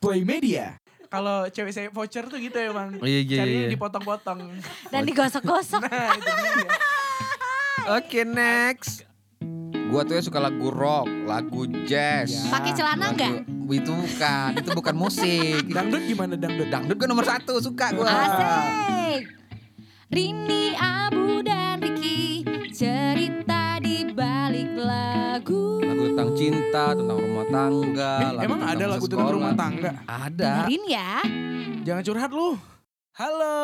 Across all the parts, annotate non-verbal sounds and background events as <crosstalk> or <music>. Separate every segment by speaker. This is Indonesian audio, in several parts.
Speaker 1: Boy Media. Kalau cewek saya voucher tuh gitu emang.
Speaker 2: Oh, iya, iya,
Speaker 1: Carinya
Speaker 2: iya.
Speaker 1: dipotong-potong. <laughs>
Speaker 3: Dan digosok-gosok.
Speaker 1: Nah, itu dia.
Speaker 2: Oke next. Gua tuh ya suka lagu rock, lagu jazz.
Speaker 3: <laughs>
Speaker 4: Iya.
Speaker 3: Pakai celana
Speaker 2: Lagu-
Speaker 3: enggak?
Speaker 2: Itu bukan, itu bukan musik.
Speaker 1: Dangdut gimana dangdut?
Speaker 2: Dangdut gue nomor satu suka gue.
Speaker 3: Asik. Rini, Abu dan Riki cerita di balik lagu.
Speaker 4: Lagu tentang cinta, tentang rumah tangga.
Speaker 1: Eh,
Speaker 4: lagu
Speaker 1: emang
Speaker 4: tentang
Speaker 1: ada
Speaker 4: masa
Speaker 1: lagu tentang
Speaker 4: sekolah.
Speaker 1: rumah tangga?
Speaker 2: Ada.
Speaker 3: Dengerin ya,
Speaker 1: Jangan curhat lu. Halo.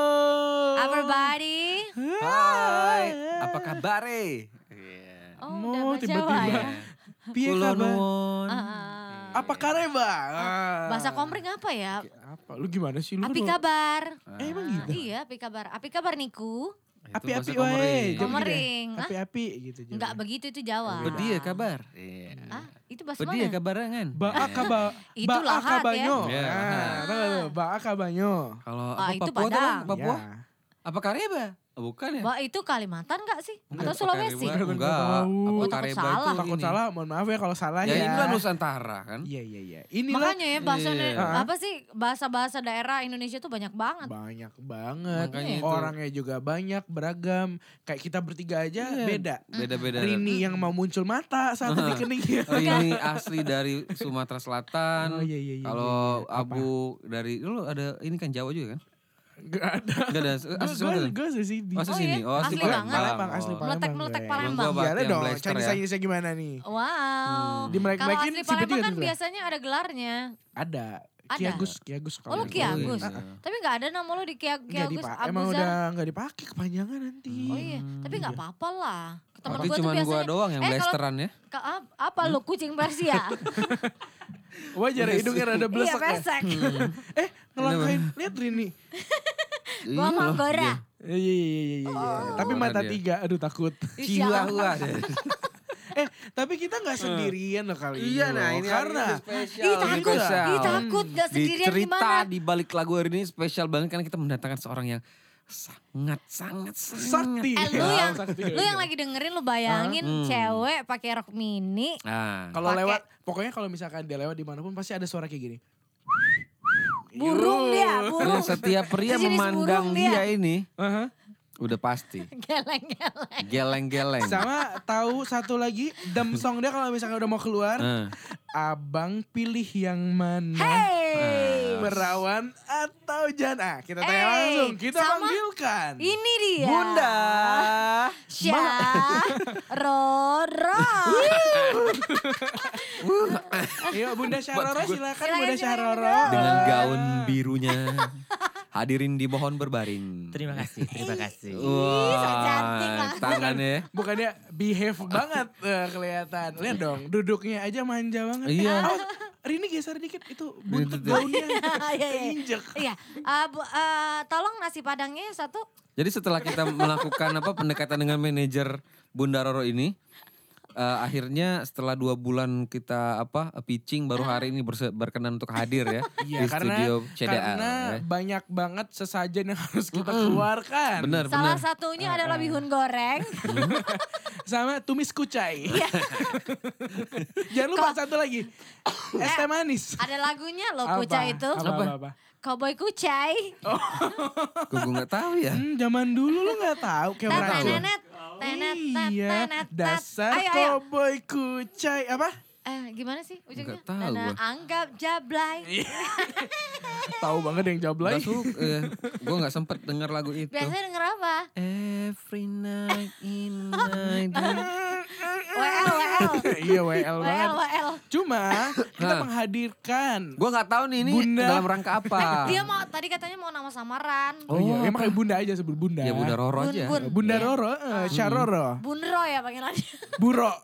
Speaker 3: everybody.
Speaker 1: Iya. Ah,
Speaker 4: Hai, apa kabar? eh? Iya.
Speaker 3: Oh,
Speaker 1: Mau
Speaker 3: udah bahasa
Speaker 1: tiba-tiba.
Speaker 3: Jawa ya.
Speaker 1: Piye Iya,
Speaker 4: Kula
Speaker 1: kabar?
Speaker 4: nuwun.
Speaker 3: Ah.
Speaker 1: Apa kareba? Ah.
Speaker 3: Bahasa kompreng apa ya?
Speaker 1: Apa? Lu gimana sih lu?
Speaker 3: Api
Speaker 1: kan-
Speaker 3: kabar.
Speaker 1: Eh, emang gitu?
Speaker 3: Iya, api kabar. Api kabar niku.
Speaker 4: Itu
Speaker 1: Api-api
Speaker 4: bahasa Komering.
Speaker 1: wae. Jawab
Speaker 3: Komering,
Speaker 1: gitu ya.
Speaker 3: ah?
Speaker 1: Api-api gitu. jawab.
Speaker 3: Enggak begitu itu Jawa.
Speaker 4: Pedih ya kabar? Iya.
Speaker 3: Ah, itu bahasa
Speaker 4: Pedih ya
Speaker 3: mana?
Speaker 4: kabar kan?
Speaker 1: Ba'a kaba,
Speaker 3: <laughs> Itu
Speaker 1: ba'a
Speaker 3: lahat ya.
Speaker 1: kabanyo.
Speaker 4: Iya,
Speaker 1: Nah,
Speaker 4: lahat.
Speaker 1: tau gak lu? Ba'a kabanyo.
Speaker 4: Kalau
Speaker 3: Ah,
Speaker 4: apa
Speaker 3: itu
Speaker 4: Papua tuh
Speaker 3: Padang.
Speaker 4: Bang? Papua?
Speaker 1: Ya.
Speaker 4: Apa Kareba? Oh, Bukan ya?
Speaker 3: Wah, itu Kalimantan enggak sih?
Speaker 4: Enggak,
Speaker 3: Atau
Speaker 4: apa
Speaker 3: Sulawesi?
Speaker 4: Kareba? Enggak.
Speaker 1: Tahu.
Speaker 4: Apa
Speaker 3: Oh, takut
Speaker 4: Kareba
Speaker 3: salah.
Speaker 4: itu
Speaker 1: Takut
Speaker 4: ini?
Speaker 1: salah, mohon maaf ya kalau salah
Speaker 4: Ya
Speaker 1: ya.
Speaker 4: inilah Nusantara kan?
Speaker 1: Iya, iya, iya. Inilah
Speaker 3: Makanya ya bahasa
Speaker 4: Iya.
Speaker 1: Ah.
Speaker 3: apa sih bahasa-bahasa daerah Indonesia tuh banyak banget.
Speaker 1: banyak banget.
Speaker 4: Makanya itu.
Speaker 1: Orangnya juga banyak, beragam. Kayak kita bertiga aja
Speaker 4: Iya.
Speaker 1: beda.
Speaker 3: Mm.
Speaker 4: Beda-beda.
Speaker 1: Rini yang mau muncul mata
Speaker 4: <laughs>
Speaker 1: saat di keningnya.
Speaker 4: Rini asli dari Sumatera
Speaker 1: iya.
Speaker 4: Selatan.
Speaker 1: Oh, iya, iya, iya, iya,
Speaker 4: Kalau
Speaker 1: iya. Apa?
Speaker 4: Abu dari dulu ada ini kan Jawa juga kan?
Speaker 1: Gak ada.
Speaker 4: Enggak
Speaker 1: <laughs>
Speaker 4: ada asli Sumatera.
Speaker 1: Gue sini.
Speaker 4: Oh, asli
Speaker 3: Oh, iya?
Speaker 4: sini. Oh, asli
Speaker 3: Asli banget.
Speaker 4: Palembang.
Speaker 1: Palembang, asli
Speaker 4: Oh.
Speaker 1: Palembang.
Speaker 3: Meletek-meletek
Speaker 1: gue.
Speaker 3: Palembang.
Speaker 4: Gua
Speaker 1: Iya
Speaker 4: baktian
Speaker 1: dong,
Speaker 4: blaster
Speaker 1: Chinese
Speaker 4: ya. Hmm.
Speaker 1: Chinese gimana nih? Oh.
Speaker 3: Wow. Kalau
Speaker 1: Dimelek-melekin
Speaker 3: asli
Speaker 1: hmm. si Beti
Speaker 3: Palembang
Speaker 1: gak
Speaker 3: kan
Speaker 1: tuh, Bra?
Speaker 3: biasanya ada gelarnya.
Speaker 1: Ada.
Speaker 3: Ada.
Speaker 1: Kiagus, Kiagus.
Speaker 3: Oh
Speaker 1: kalau
Speaker 3: lu
Speaker 1: nggak
Speaker 4: Ki
Speaker 1: salah.
Speaker 3: Kiagus.
Speaker 4: Iya.
Speaker 3: Tapi nggak ada nama lu di Kia-
Speaker 1: Nggak
Speaker 3: Kiagus
Speaker 1: dipa- Emang udah
Speaker 3: Abuzar.
Speaker 1: gak dipakai kepanjangan nanti.
Speaker 3: Oh iya, tapi nggak apa-apa lah. Temen
Speaker 4: Berarti
Speaker 3: gue
Speaker 4: cuma
Speaker 3: tuh
Speaker 4: gua
Speaker 3: biasanya
Speaker 4: doang yang
Speaker 3: Eh, kalau-
Speaker 4: blasteran ya.
Speaker 3: Ka- ap- apa lu kucing
Speaker 1: <laughs>
Speaker 3: Persia?
Speaker 1: <laughs> Wajar ya, hidungnya rada
Speaker 3: iya,
Speaker 1: blesek ya.
Speaker 3: pesek.
Speaker 1: <laughs>
Speaker 4: Hmm.
Speaker 1: Eh, ngelangkain. Lihat Rini.
Speaker 4: Iya
Speaker 3: Gua mau
Speaker 4: loh,
Speaker 3: gora.
Speaker 1: Iya,
Speaker 4: iya.
Speaker 1: iya, iya, iya, iya. Tapi
Speaker 4: Orang
Speaker 1: mata
Speaker 4: dia.
Speaker 1: tiga, aduh takut.
Speaker 3: Ih, siapa?
Speaker 4: Chihuahua.
Speaker 1: Eh, tapi kita gak sendirian loh kali
Speaker 4: Hmm. Iya
Speaker 1: ini.
Speaker 4: nah
Speaker 1: loh.
Speaker 4: ini
Speaker 1: Karena
Speaker 4: hari ini spesial.
Speaker 1: Iya,
Speaker 3: Ih takut,
Speaker 4: Spesial.
Speaker 3: ih takut gak
Speaker 4: Di
Speaker 3: sendirian
Speaker 4: cerita
Speaker 3: gimana?
Speaker 4: di balik lagu hari ini spesial banget karena kita mendatangkan seorang yang sangat sangat sangat
Speaker 1: sakti.
Speaker 3: Eh lu
Speaker 4: Iya,
Speaker 3: yang,
Speaker 1: Sakti.
Speaker 3: lu yang lagi dengerin lu bayangin
Speaker 4: Hmm.
Speaker 3: cewek pakai rok mini.
Speaker 4: Ah,
Speaker 1: Kalau
Speaker 3: Pakai-
Speaker 1: lewat, pokoknya kalau misalkan dia lewat dimanapun pasti ada suara kayak gini.
Speaker 3: Burung
Speaker 4: karena
Speaker 3: dia, burung.
Speaker 4: setiap pria
Speaker 3: Sejenis
Speaker 4: memandang
Speaker 3: burung
Speaker 4: dia.
Speaker 3: dia.
Speaker 4: ini
Speaker 1: Aha.
Speaker 4: udah pasti
Speaker 3: Geleng-geleng.
Speaker 4: geleng-geleng.
Speaker 1: Sama tahu satu lagi dem song dia kalau misalkan udah mau keluar,
Speaker 4: Eh,
Speaker 1: abang pilih yang
Speaker 4: Nah.
Speaker 1: mana?
Speaker 3: Hey.
Speaker 1: Merawan atau Jan? Ah, kita tanya
Speaker 3: Hey,
Speaker 1: langsung. Kita
Speaker 3: sama-
Speaker 1: panggilkan.
Speaker 3: Ini ya. dia.
Speaker 4: Bunda.
Speaker 3: <laughs> Roro.
Speaker 1: Yuk Bunda Syahroro silakan
Speaker 3: Silakan,
Speaker 1: Bunda
Speaker 3: silakan,
Speaker 1: Syahroro.
Speaker 4: dengan gaun birunya hadirin di pohon berbaring.
Speaker 5: Terima kasih, terima kasih.
Speaker 3: so cantik
Speaker 4: Wah,
Speaker 3: banget.
Speaker 4: tangannya.
Speaker 1: Bukannya behave banget eh, kelihatan. Lihat dong, duduknya aja manja banget.
Speaker 4: Iya.
Speaker 1: Oh, Rini geser dikit itu buntut
Speaker 4: Buntut.
Speaker 1: gaunnya. gitu.
Speaker 3: <laughs> Iya, iya.
Speaker 1: Keinjek.
Speaker 3: Iya, eh, Bu- eh, tolong nasi padangnya satu.
Speaker 4: Jadi setelah kita melakukan apa pendekatan dengan manajer Bunda Roro ini, eh, akhirnya setelah dua bulan kita apa pitching baru hari ini berse- berkenan untuk hadir ya
Speaker 1: Iya
Speaker 4: di
Speaker 1: karena
Speaker 4: studio CDA.
Speaker 1: karena
Speaker 4: ya.
Speaker 1: banyak banget sesajen yang harus kita keluarkan.
Speaker 4: Benar benar. Eh,
Speaker 3: Salah satunya adalah bihun
Speaker 4: <laughs>
Speaker 3: goreng.
Speaker 1: Sama tumis kucai.
Speaker 3: Iya.
Speaker 1: <laughs> Jangan lupa satu lagi. Es teh manis.
Speaker 3: Ada lagunya loh
Speaker 1: Apa?
Speaker 3: Eh, kucai itu.
Speaker 1: Apa? apa, apa?
Speaker 3: Cowboy kucai.
Speaker 4: Kok gue nggak tahu ya.
Speaker 1: Hmm, zaman dulu lu gak tahu kayak orang tua.
Speaker 3: Tenet, tenet, tenet,
Speaker 1: Iya,
Speaker 3: tenet.
Speaker 1: dasar
Speaker 3: Ayo, ayo.
Speaker 1: koboi kucai. Apa?
Speaker 3: Eh, gimana sih ujungnya?
Speaker 4: Nggak tahu
Speaker 3: Nana
Speaker 4: gua.
Speaker 3: anggap jablay.
Speaker 1: Iya. Tahu banget yang
Speaker 4: Gak
Speaker 1: jablay.
Speaker 4: suka, eh, gue nggak sempet dengar lagu itu.
Speaker 3: Biasanya denger
Speaker 1: <laughs>
Speaker 3: apa?
Speaker 4: Every night in my dream.
Speaker 3: WL, WL.
Speaker 1: iya WL
Speaker 3: WL,
Speaker 1: banget.
Speaker 3: WL.
Speaker 1: Cuma kita
Speaker 4: Hah.
Speaker 1: menghadirkan.
Speaker 4: Gue nggak tahu nih ini
Speaker 1: Bunda.
Speaker 4: dalam rangka apa.
Speaker 3: Eh, <laughs> Dia mau tadi katanya mau nama samaran.
Speaker 1: Oh, iya, emang kayak bunda aja sebut bunda.
Speaker 4: Ya Bunda Roro
Speaker 3: Bun,
Speaker 4: aja.
Speaker 3: bun. Iya.
Speaker 1: Bunda Roro, eh, Syaroro.
Speaker 3: Bunro ya panggilannya. <laughs>
Speaker 1: Buro. <laughs>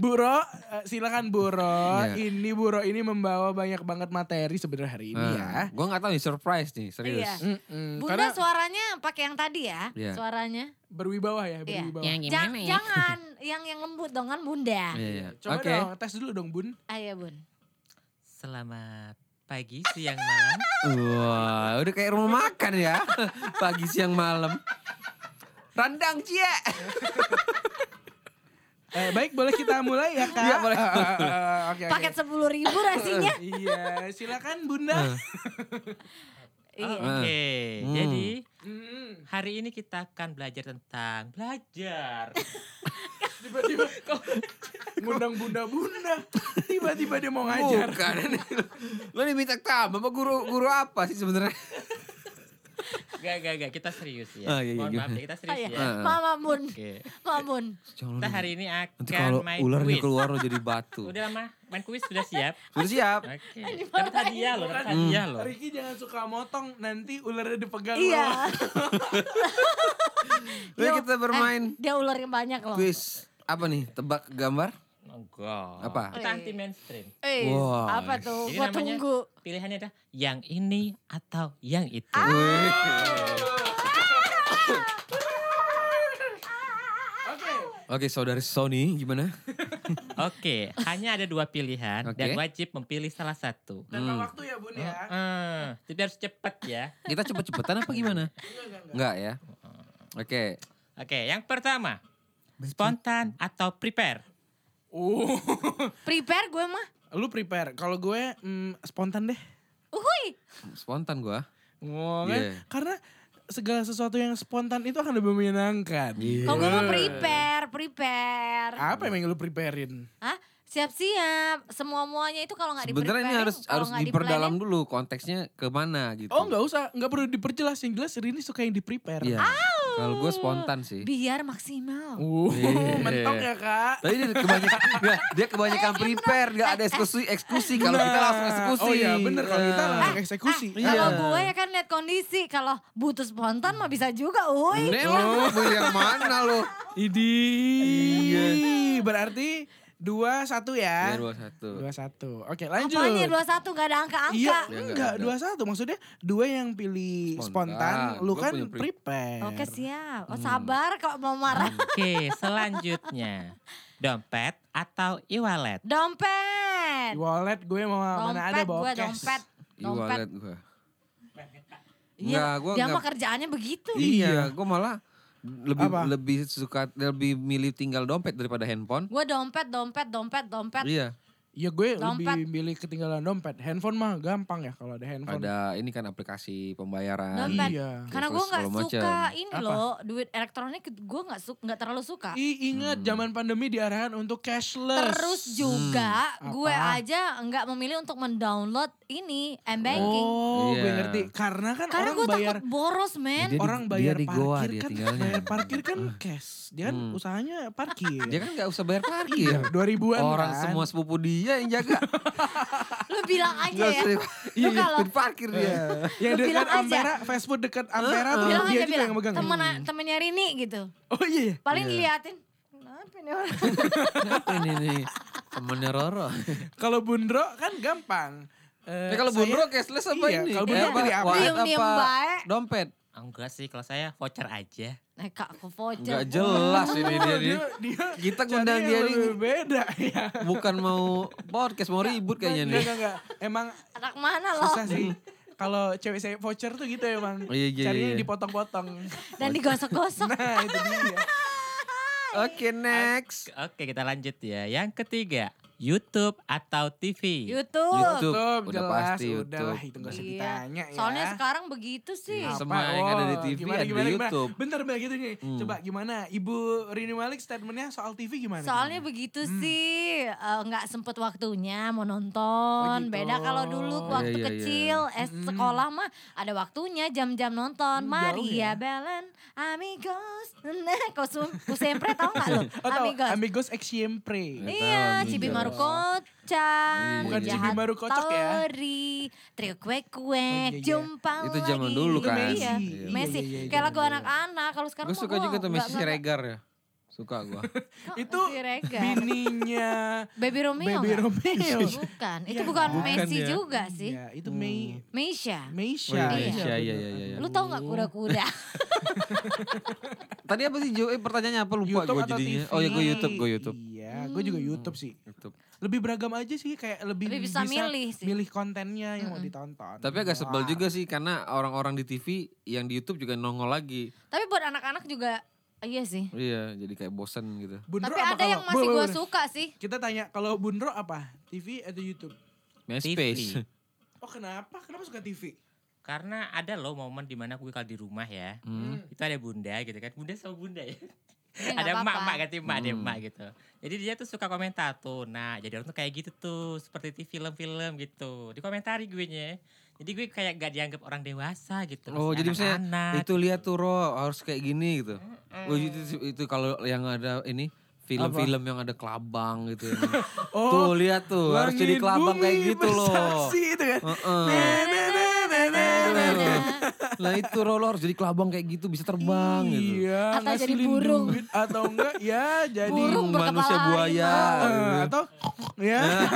Speaker 1: Buro, eh, silakan Buro.
Speaker 4: Iya.
Speaker 1: Ini Buro ini membawa banyak banget materi sebenarnya hari
Speaker 4: Ah.
Speaker 1: ini ya.
Speaker 4: Gue nggak tahu nih surprise nih serius. Hmm,
Speaker 3: Iya.
Speaker 1: Mm-mm,
Speaker 3: Bunda
Speaker 1: Karena
Speaker 3: suaranya pakai yang tadi ya,
Speaker 4: Iya.
Speaker 3: suaranya.
Speaker 1: berwibawa ya,
Speaker 3: Iya.
Speaker 1: berwibawa.
Speaker 3: Jangan, jangan yang yang lembut dong kan Bunda.
Speaker 4: Iya.
Speaker 1: Coba
Speaker 4: Oke.
Speaker 1: dong, tes dulu dong Bun.
Speaker 3: Ayo Bun.
Speaker 5: Selamat pagi, siang, malam.
Speaker 4: Wah, udah kayak rumah makan <laughs> ya. Pagi, siang, malam. Rendang cie.
Speaker 1: Eh, baik boleh
Speaker 3: <laughs>
Speaker 1: kita mulai ya kak? Iya boleh. ah, Oke
Speaker 4: Iya,
Speaker 1: oke.
Speaker 3: Paket sepuluh
Speaker 4: <laughs>
Speaker 3: ribu rasinya.
Speaker 1: Iya silakan bunda.
Speaker 3: <laughs>
Speaker 4: Ah,
Speaker 3: Iya.
Speaker 5: Oke,
Speaker 4: Hmm.
Speaker 5: jadi
Speaker 1: Mm.
Speaker 5: hari ini kita akan belajar tentang belajar.
Speaker 1: Tiba-tiba kok ngundang bunda-bunda. Tiba-tiba dia mau ngajar.
Speaker 4: Bukan. <laughs> Lo diminta tambah apa guru guru apa sih sebenarnya?
Speaker 5: Gak, gak, gak, kita serius ya.
Speaker 4: Ah, iya, iya,
Speaker 5: Mohon maaf
Speaker 4: gimana?
Speaker 5: ya, kita
Speaker 3: Oh,
Speaker 5: serius
Speaker 3: iya.
Speaker 5: ya.
Speaker 4: Ah.
Speaker 3: Mamamun,
Speaker 5: Oke,
Speaker 3: mamun.
Speaker 4: Jangan
Speaker 5: kita
Speaker 4: lo-
Speaker 5: hari ini
Speaker 4: Nanti
Speaker 5: akan
Speaker 4: kalau
Speaker 5: main
Speaker 4: ularnya
Speaker 5: kuis.
Speaker 4: keluar lo jadi
Speaker 3: <laughs>
Speaker 4: batu.
Speaker 5: Udah lama, main kuis sudah siap.
Speaker 4: Sudah siap.
Speaker 5: Oke, dapat hadiah loh, dapat
Speaker 1: Hmm.
Speaker 5: hadiah loh.
Speaker 1: Riki jangan suka motong nanti ularnya dipegang loh.
Speaker 3: Iya.
Speaker 4: Lalu
Speaker 3: Yo,
Speaker 4: Iya,
Speaker 3: <laughs>
Speaker 4: kita bermain
Speaker 3: eh, dia ular yang banyak loh.
Speaker 4: kuis. Apa nih? Tebak gambar?
Speaker 5: Enggak.
Speaker 4: Apa?
Speaker 5: Oh, Kita anti mainstream.
Speaker 3: Eh,
Speaker 4: Wah.
Speaker 3: apa tuh?
Speaker 5: Jadi
Speaker 3: Oh, Gua
Speaker 5: namanya-
Speaker 3: tunggu.
Speaker 5: Pilihannya ada yang ini atau yang itu.
Speaker 3: Ah.
Speaker 1: Oke.
Speaker 4: Oke, saudari Sony gimana?
Speaker 5: Oke, hanya ada dua pilihan
Speaker 4: Oke.
Speaker 5: dan wajib memilih salah satu.
Speaker 1: Tanpa
Speaker 4: Hmm.
Speaker 1: waktu ya bun ya.
Speaker 5: Heeh, <laughs> jadi harus cepat ya.
Speaker 4: Kita cepet-cepetan apa gimana? <laughs> Enggak ya. Oke.
Speaker 5: Oke, yang pertama. Spontan atau prepare?
Speaker 1: Uh, <laughs>
Speaker 3: Prepare gue mah.
Speaker 1: lu prepare. Kalau gue mm, spontan deh.
Speaker 3: Uhuy.
Speaker 4: Spontan gua.
Speaker 1: Wah, kan?
Speaker 4: Iya.
Speaker 1: Karena segala sesuatu yang spontan itu akan lebih menyenangkan.
Speaker 4: Iya.
Speaker 3: Kalau gue mah prepare, prepare.
Speaker 1: Apa emang yang lu preparein?
Speaker 3: Hah? Siap-siap. Semua-muanya itu kalau nggak di
Speaker 4: Sebenarnya ini harus harus diperdalam dulu konteksnya kemana gitu.
Speaker 1: Oh nggak usah, nggak perlu diperjelas. Yang jelas Rini suka yang di prepare.
Speaker 4: Iya. Kalau gue spontan sih.
Speaker 3: Biar maksimal.
Speaker 1: Uh,
Speaker 4: Iya.
Speaker 1: <laughs> mentok ya kak.
Speaker 4: Tapi dia
Speaker 3: <laughs>
Speaker 4: kebanyakan nggak, dia
Speaker 3: Iya,
Speaker 4: kebanyakan prepare, nggak ada eksekusi eksekusi kalau kita langsung eksekusi.
Speaker 1: Oh iya bener kalau kita
Speaker 4: Eh,
Speaker 1: langsung eksekusi.
Speaker 3: Kalau
Speaker 4: iya.
Speaker 3: gue ya kan lihat kondisi. Kalau butuh spontan mah bisa juga, uy.
Speaker 4: Nih lo
Speaker 3: Oh.
Speaker 4: mau yang mana
Speaker 3: <laughs>
Speaker 4: lo?
Speaker 1: Idi. Berarti dua satu
Speaker 3: Eh.
Speaker 1: ya.
Speaker 4: Ya Iya. dua satu.
Speaker 1: Dua satu. Oke lanjut.
Speaker 3: Apanya 21 gak ada angka-angka.
Speaker 1: Iya,
Speaker 4: Ya,
Speaker 1: enggak,
Speaker 4: enggak ada.
Speaker 1: dua satu. Maksudnya dua yang pilih spontan,
Speaker 4: Spontan.
Speaker 1: lu
Speaker 4: Gua
Speaker 1: kan
Speaker 4: punya pre-
Speaker 1: prepare.
Speaker 3: Oke siap.
Speaker 4: Hmm.
Speaker 3: Oh sabar kalau mau marah.
Speaker 5: Oke, selanjutnya. Dompet atau e-wallet?
Speaker 1: Di
Speaker 3: Dompet.
Speaker 1: Wallet gue mau mana ada
Speaker 3: Dompet
Speaker 1: bawa
Speaker 3: gue
Speaker 1: cash.
Speaker 3: dompet. Dompet.
Speaker 4: E-wallet gue.
Speaker 3: Iya,
Speaker 4: Enggak, gue
Speaker 3: dia mah
Speaker 4: enggak.
Speaker 3: kerjaannya begitu.
Speaker 4: Iya, gue malah lebih
Speaker 1: Apa?
Speaker 4: lebih suka lebih milih tinggal dompet daripada handphone.
Speaker 3: Gue dompet, dompet, dompet, dompet.
Speaker 4: Iya,
Speaker 1: Ya gue
Speaker 3: Dompet.
Speaker 1: lebih milih ketinggalan dompet. Handphone mah gampang ya kalau ada handphone.
Speaker 4: ada ini kan aplikasi pembayaran.
Speaker 3: Dompet.
Speaker 1: Iya.
Speaker 3: Karena gue
Speaker 4: Terus
Speaker 3: nggak
Speaker 4: segala
Speaker 3: suka
Speaker 4: macam.
Speaker 3: ini
Speaker 1: Apa?
Speaker 3: loh duit elektronik gue nggak suka nggak terlalu suka.
Speaker 1: I
Speaker 4: Hmm.
Speaker 1: ingat zaman pandemi diarahkan untuk cashless.
Speaker 3: Terus juga
Speaker 1: Hmm.
Speaker 3: gue
Speaker 1: Apa?
Speaker 3: aja nggak memilih untuk mendownload ini m banking
Speaker 1: Oh, gue
Speaker 4: Iya.
Speaker 1: ngerti. Karena kan orang
Speaker 3: karena gue
Speaker 1: bayar
Speaker 3: takut boros men.
Speaker 4: Dia di-
Speaker 1: orang
Speaker 4: dia
Speaker 1: bayar
Speaker 4: di Goa
Speaker 1: parkir
Speaker 4: dia
Speaker 1: kan
Speaker 4: tinggalnya. Ah.
Speaker 1: bayar parkir kan cash. Dia kan
Speaker 4: Hmm.
Speaker 1: usahanya parkir.
Speaker 4: Dia kan nggak usah bayar parkir.
Speaker 1: Dua ribuan
Speaker 4: Orang
Speaker 1: Iya. kan.
Speaker 4: semua sepupu dia yang jaga.
Speaker 3: Lu
Speaker 1: <laughs>
Speaker 3: bilang aja
Speaker 4: Nggak
Speaker 3: ya.
Speaker 4: usah-
Speaker 3: Lu
Speaker 4: Iya,
Speaker 3: kalau
Speaker 4: di parkir dia.
Speaker 1: Yang
Speaker 3: Lu
Speaker 1: Ya, dekat
Speaker 3: bilang aja.
Speaker 1: Ampera, fast food dekat
Speaker 4: Ah,
Speaker 1: Ampera tuh
Speaker 3: bilang
Speaker 1: dia
Speaker 3: aja
Speaker 1: juga
Speaker 3: bilang
Speaker 1: yang megang.
Speaker 3: temen temennya Rini gitu.
Speaker 1: Oh iya iya.
Speaker 3: Paling diliatin. Kenapa nih
Speaker 1: <laughs>
Speaker 3: orang?
Speaker 4: Kenapa ini nih? Temennya Roro.
Speaker 1: Kalau Bundro kan gampang. Eh,
Speaker 4: Ya kalau
Speaker 1: saya-
Speaker 4: Bundro cashless apa
Speaker 1: iya,
Speaker 4: ini?
Speaker 1: kalau Bundro
Speaker 4: Eh,
Speaker 1: pilih apa?
Speaker 4: wallet
Speaker 3: Diem-diem bae.
Speaker 4: Dompet.
Speaker 5: Enggak sih, kalau saya voucher aja.
Speaker 3: Eh kak aku voucher.
Speaker 4: Enggak jelas ini dia nih.
Speaker 1: dia
Speaker 4: Kita
Speaker 1: cari
Speaker 4: ngundang
Speaker 1: yang
Speaker 4: dia
Speaker 1: lebih
Speaker 4: nih.
Speaker 1: beda <laughs> ya.
Speaker 4: Bukan mau podcast, mau ribut kayaknya
Speaker 1: Enggak,
Speaker 4: Iya nih. Oh.
Speaker 1: enggak, enggak. Emang
Speaker 3: Anak mana loh?
Speaker 1: susah sih. Kalau cewek saya voucher tuh gitu emang.
Speaker 4: Iya, iya,
Speaker 1: Carinya
Speaker 4: iya.
Speaker 1: dipotong-potong. <laughs>
Speaker 3: Dan digosok-gosok.
Speaker 1: Nah itu dia.
Speaker 4: Oke next.
Speaker 5: Oke, kita lanjut ya. Yang ketiga, YouTube atau TV?
Speaker 3: YouTube.
Speaker 4: YouTube.
Speaker 1: Tuh,
Speaker 4: Udah
Speaker 1: jelas,
Speaker 4: pasti
Speaker 1: Udah
Speaker 4: YouTube.
Speaker 1: lah itu gak usah
Speaker 3: Iya.
Speaker 1: ditanya ya.
Speaker 3: Soalnya sekarang begitu sih.
Speaker 4: Iya,
Speaker 1: Apa?
Speaker 4: Semua yang ada di
Speaker 1: Oh,
Speaker 4: TV ada di YouTube. Hmm.
Speaker 1: Bentar, Mbak, gitu nih. Coba gimana? Ibu Rini Malik statementnya soal TV gimana?
Speaker 3: Soalnya begitu sih eh, nggak sempet waktunya mau
Speaker 1: gitu.
Speaker 3: nonton. Beda kalau dulu
Speaker 4: Iya, iya,
Speaker 3: waktu
Speaker 4: iya.
Speaker 3: kecil, eh sekolah mah ada waktunya jam-jam
Speaker 1: Hmm,
Speaker 3: nonton.
Speaker 1: jauh
Speaker 3: Maria
Speaker 1: ya.
Speaker 3: Belen, Amigos, nah kosum, kusempre tau nggak lo?
Speaker 1: Oh, tahu,
Speaker 3: Amigos.
Speaker 1: Amigos X Siempre.
Speaker 4: Nggak
Speaker 3: Iya,
Speaker 4: tahu,
Speaker 3: Cibi
Speaker 4: Amigos.
Speaker 3: Maru Kocak,
Speaker 4: Bukan Cibi
Speaker 3: Jahat
Speaker 1: Maru Kocak ya?
Speaker 3: Tori, Trio Kue Kue,
Speaker 1: iya, iya.
Speaker 3: Jumpa
Speaker 4: Itu
Speaker 3: lagi.
Speaker 4: zaman dulu
Speaker 1: Itu
Speaker 4: kan.
Speaker 1: Messi.
Speaker 4: Iya.
Speaker 1: Iya,
Speaker 3: Messi,
Speaker 1: iya, iya,
Speaker 3: kayak
Speaker 1: iya,
Speaker 3: lagu
Speaker 1: iya.
Speaker 3: anak-anak. Kalau sekarang
Speaker 4: Gue
Speaker 3: mah
Speaker 4: suka
Speaker 3: gua
Speaker 4: juga tuh
Speaker 3: nggak-
Speaker 4: Messi
Speaker 3: nggak-
Speaker 4: Siregar ya. Suka gue.
Speaker 3: Kok
Speaker 1: Itu
Speaker 3: Siregar?
Speaker 1: bininya
Speaker 3: Baby Romeo.
Speaker 1: Baby
Speaker 3: nggak? <laughs>
Speaker 1: Romeo.
Speaker 3: Bukan, itu
Speaker 1: Iya.
Speaker 3: bukan,
Speaker 1: Bukan
Speaker 3: Messi
Speaker 4: ya.
Speaker 3: juga sih.
Speaker 1: Iya, itu Mei
Speaker 3: Meisha.
Speaker 1: Meisha.
Speaker 4: Oh,
Speaker 1: Iya,
Speaker 4: iya,
Speaker 1: Oh.
Speaker 4: Meisha, iya,
Speaker 1: bener.
Speaker 4: iya, iya.
Speaker 3: Lu tau gak
Speaker 1: <laughs>
Speaker 3: kuda-kuda?
Speaker 4: Tadi apa sih Jo? Eh pertanyaannya apa lupa
Speaker 1: YouTube
Speaker 4: gue
Speaker 1: atau
Speaker 4: jadinya.
Speaker 1: TV?
Speaker 4: Oh ya gue
Speaker 3: Hmm.
Speaker 4: YouTube, gue YouTube.
Speaker 1: Iya, gue juga YouTube sih.
Speaker 4: YouTube.
Speaker 1: Lebih beragam aja sih, kayak lebih,
Speaker 3: Lebih bisa milih sih. Hmm.
Speaker 1: milih kontennya yang mau ditonton.
Speaker 4: Tapi agak sebel juga sih karena orang-orang di TV yang di YouTube juga nongol lagi.
Speaker 3: Tapi buat anak-anak juga Iya sih.
Speaker 4: Iya, jadi kayak bosen gitu.
Speaker 1: Bundro
Speaker 3: Tapi
Speaker 1: apa
Speaker 3: ada yang
Speaker 1: kalau-
Speaker 3: masih
Speaker 1: Boleh,
Speaker 3: gue
Speaker 1: boleh.
Speaker 3: suka sih.
Speaker 1: Kita tanya kalau Bundro apa? TV atau YouTube?
Speaker 4: MySpace.
Speaker 5: TV.
Speaker 1: Oh kenapa? Kenapa suka TV?
Speaker 5: Karena ada loh momen dimana gue kalau di rumah ya.
Speaker 4: Hmm.
Speaker 5: Itu ada bunda gitu kan. Bunda sama bunda ya.
Speaker 3: Ya, nggak
Speaker 5: ada
Speaker 3: apa-apa.
Speaker 5: emak emak ganti emak ada
Speaker 4: Hmm.
Speaker 5: emak gitu jadi dia tuh suka komentar tuh nah jadi orang tuh kayak gitu tuh seperti di film-film gitu dikomentari gue nya jadi gue kayak gak dianggap orang dewasa gitu
Speaker 4: Oh, jadi
Speaker 1: Nah.
Speaker 4: misalnya
Speaker 5: anak
Speaker 4: Itu lihat tuh Ro, harus kayak gini gitu. Oh, itu itu kalau yang ada ini film-film yang ada kelabang
Speaker 1: <laughs>
Speaker 4: gitu. ya. tuh lihat tuh, harus
Speaker 1: Oh,
Speaker 4: jadi
Speaker 1: langit
Speaker 4: kelabang kayak
Speaker 1: bumi
Speaker 4: gitu loh.
Speaker 1: bersaksi nah, itu kan.
Speaker 4: Heeh. Nah itu Ro, lo harus jadi kelabang kayak gitu, bisa terbang gitu.
Speaker 1: Iya,
Speaker 3: Atau jadi
Speaker 1: ngasilin
Speaker 3: burung.
Speaker 1: duit. atau enggak ya jadi
Speaker 3: Burung
Speaker 4: Hmm,
Speaker 3: berkepala
Speaker 4: manusia buaya.
Speaker 1: Eh,
Speaker 4: gitu.
Speaker 1: atau ya.
Speaker 4: Nah.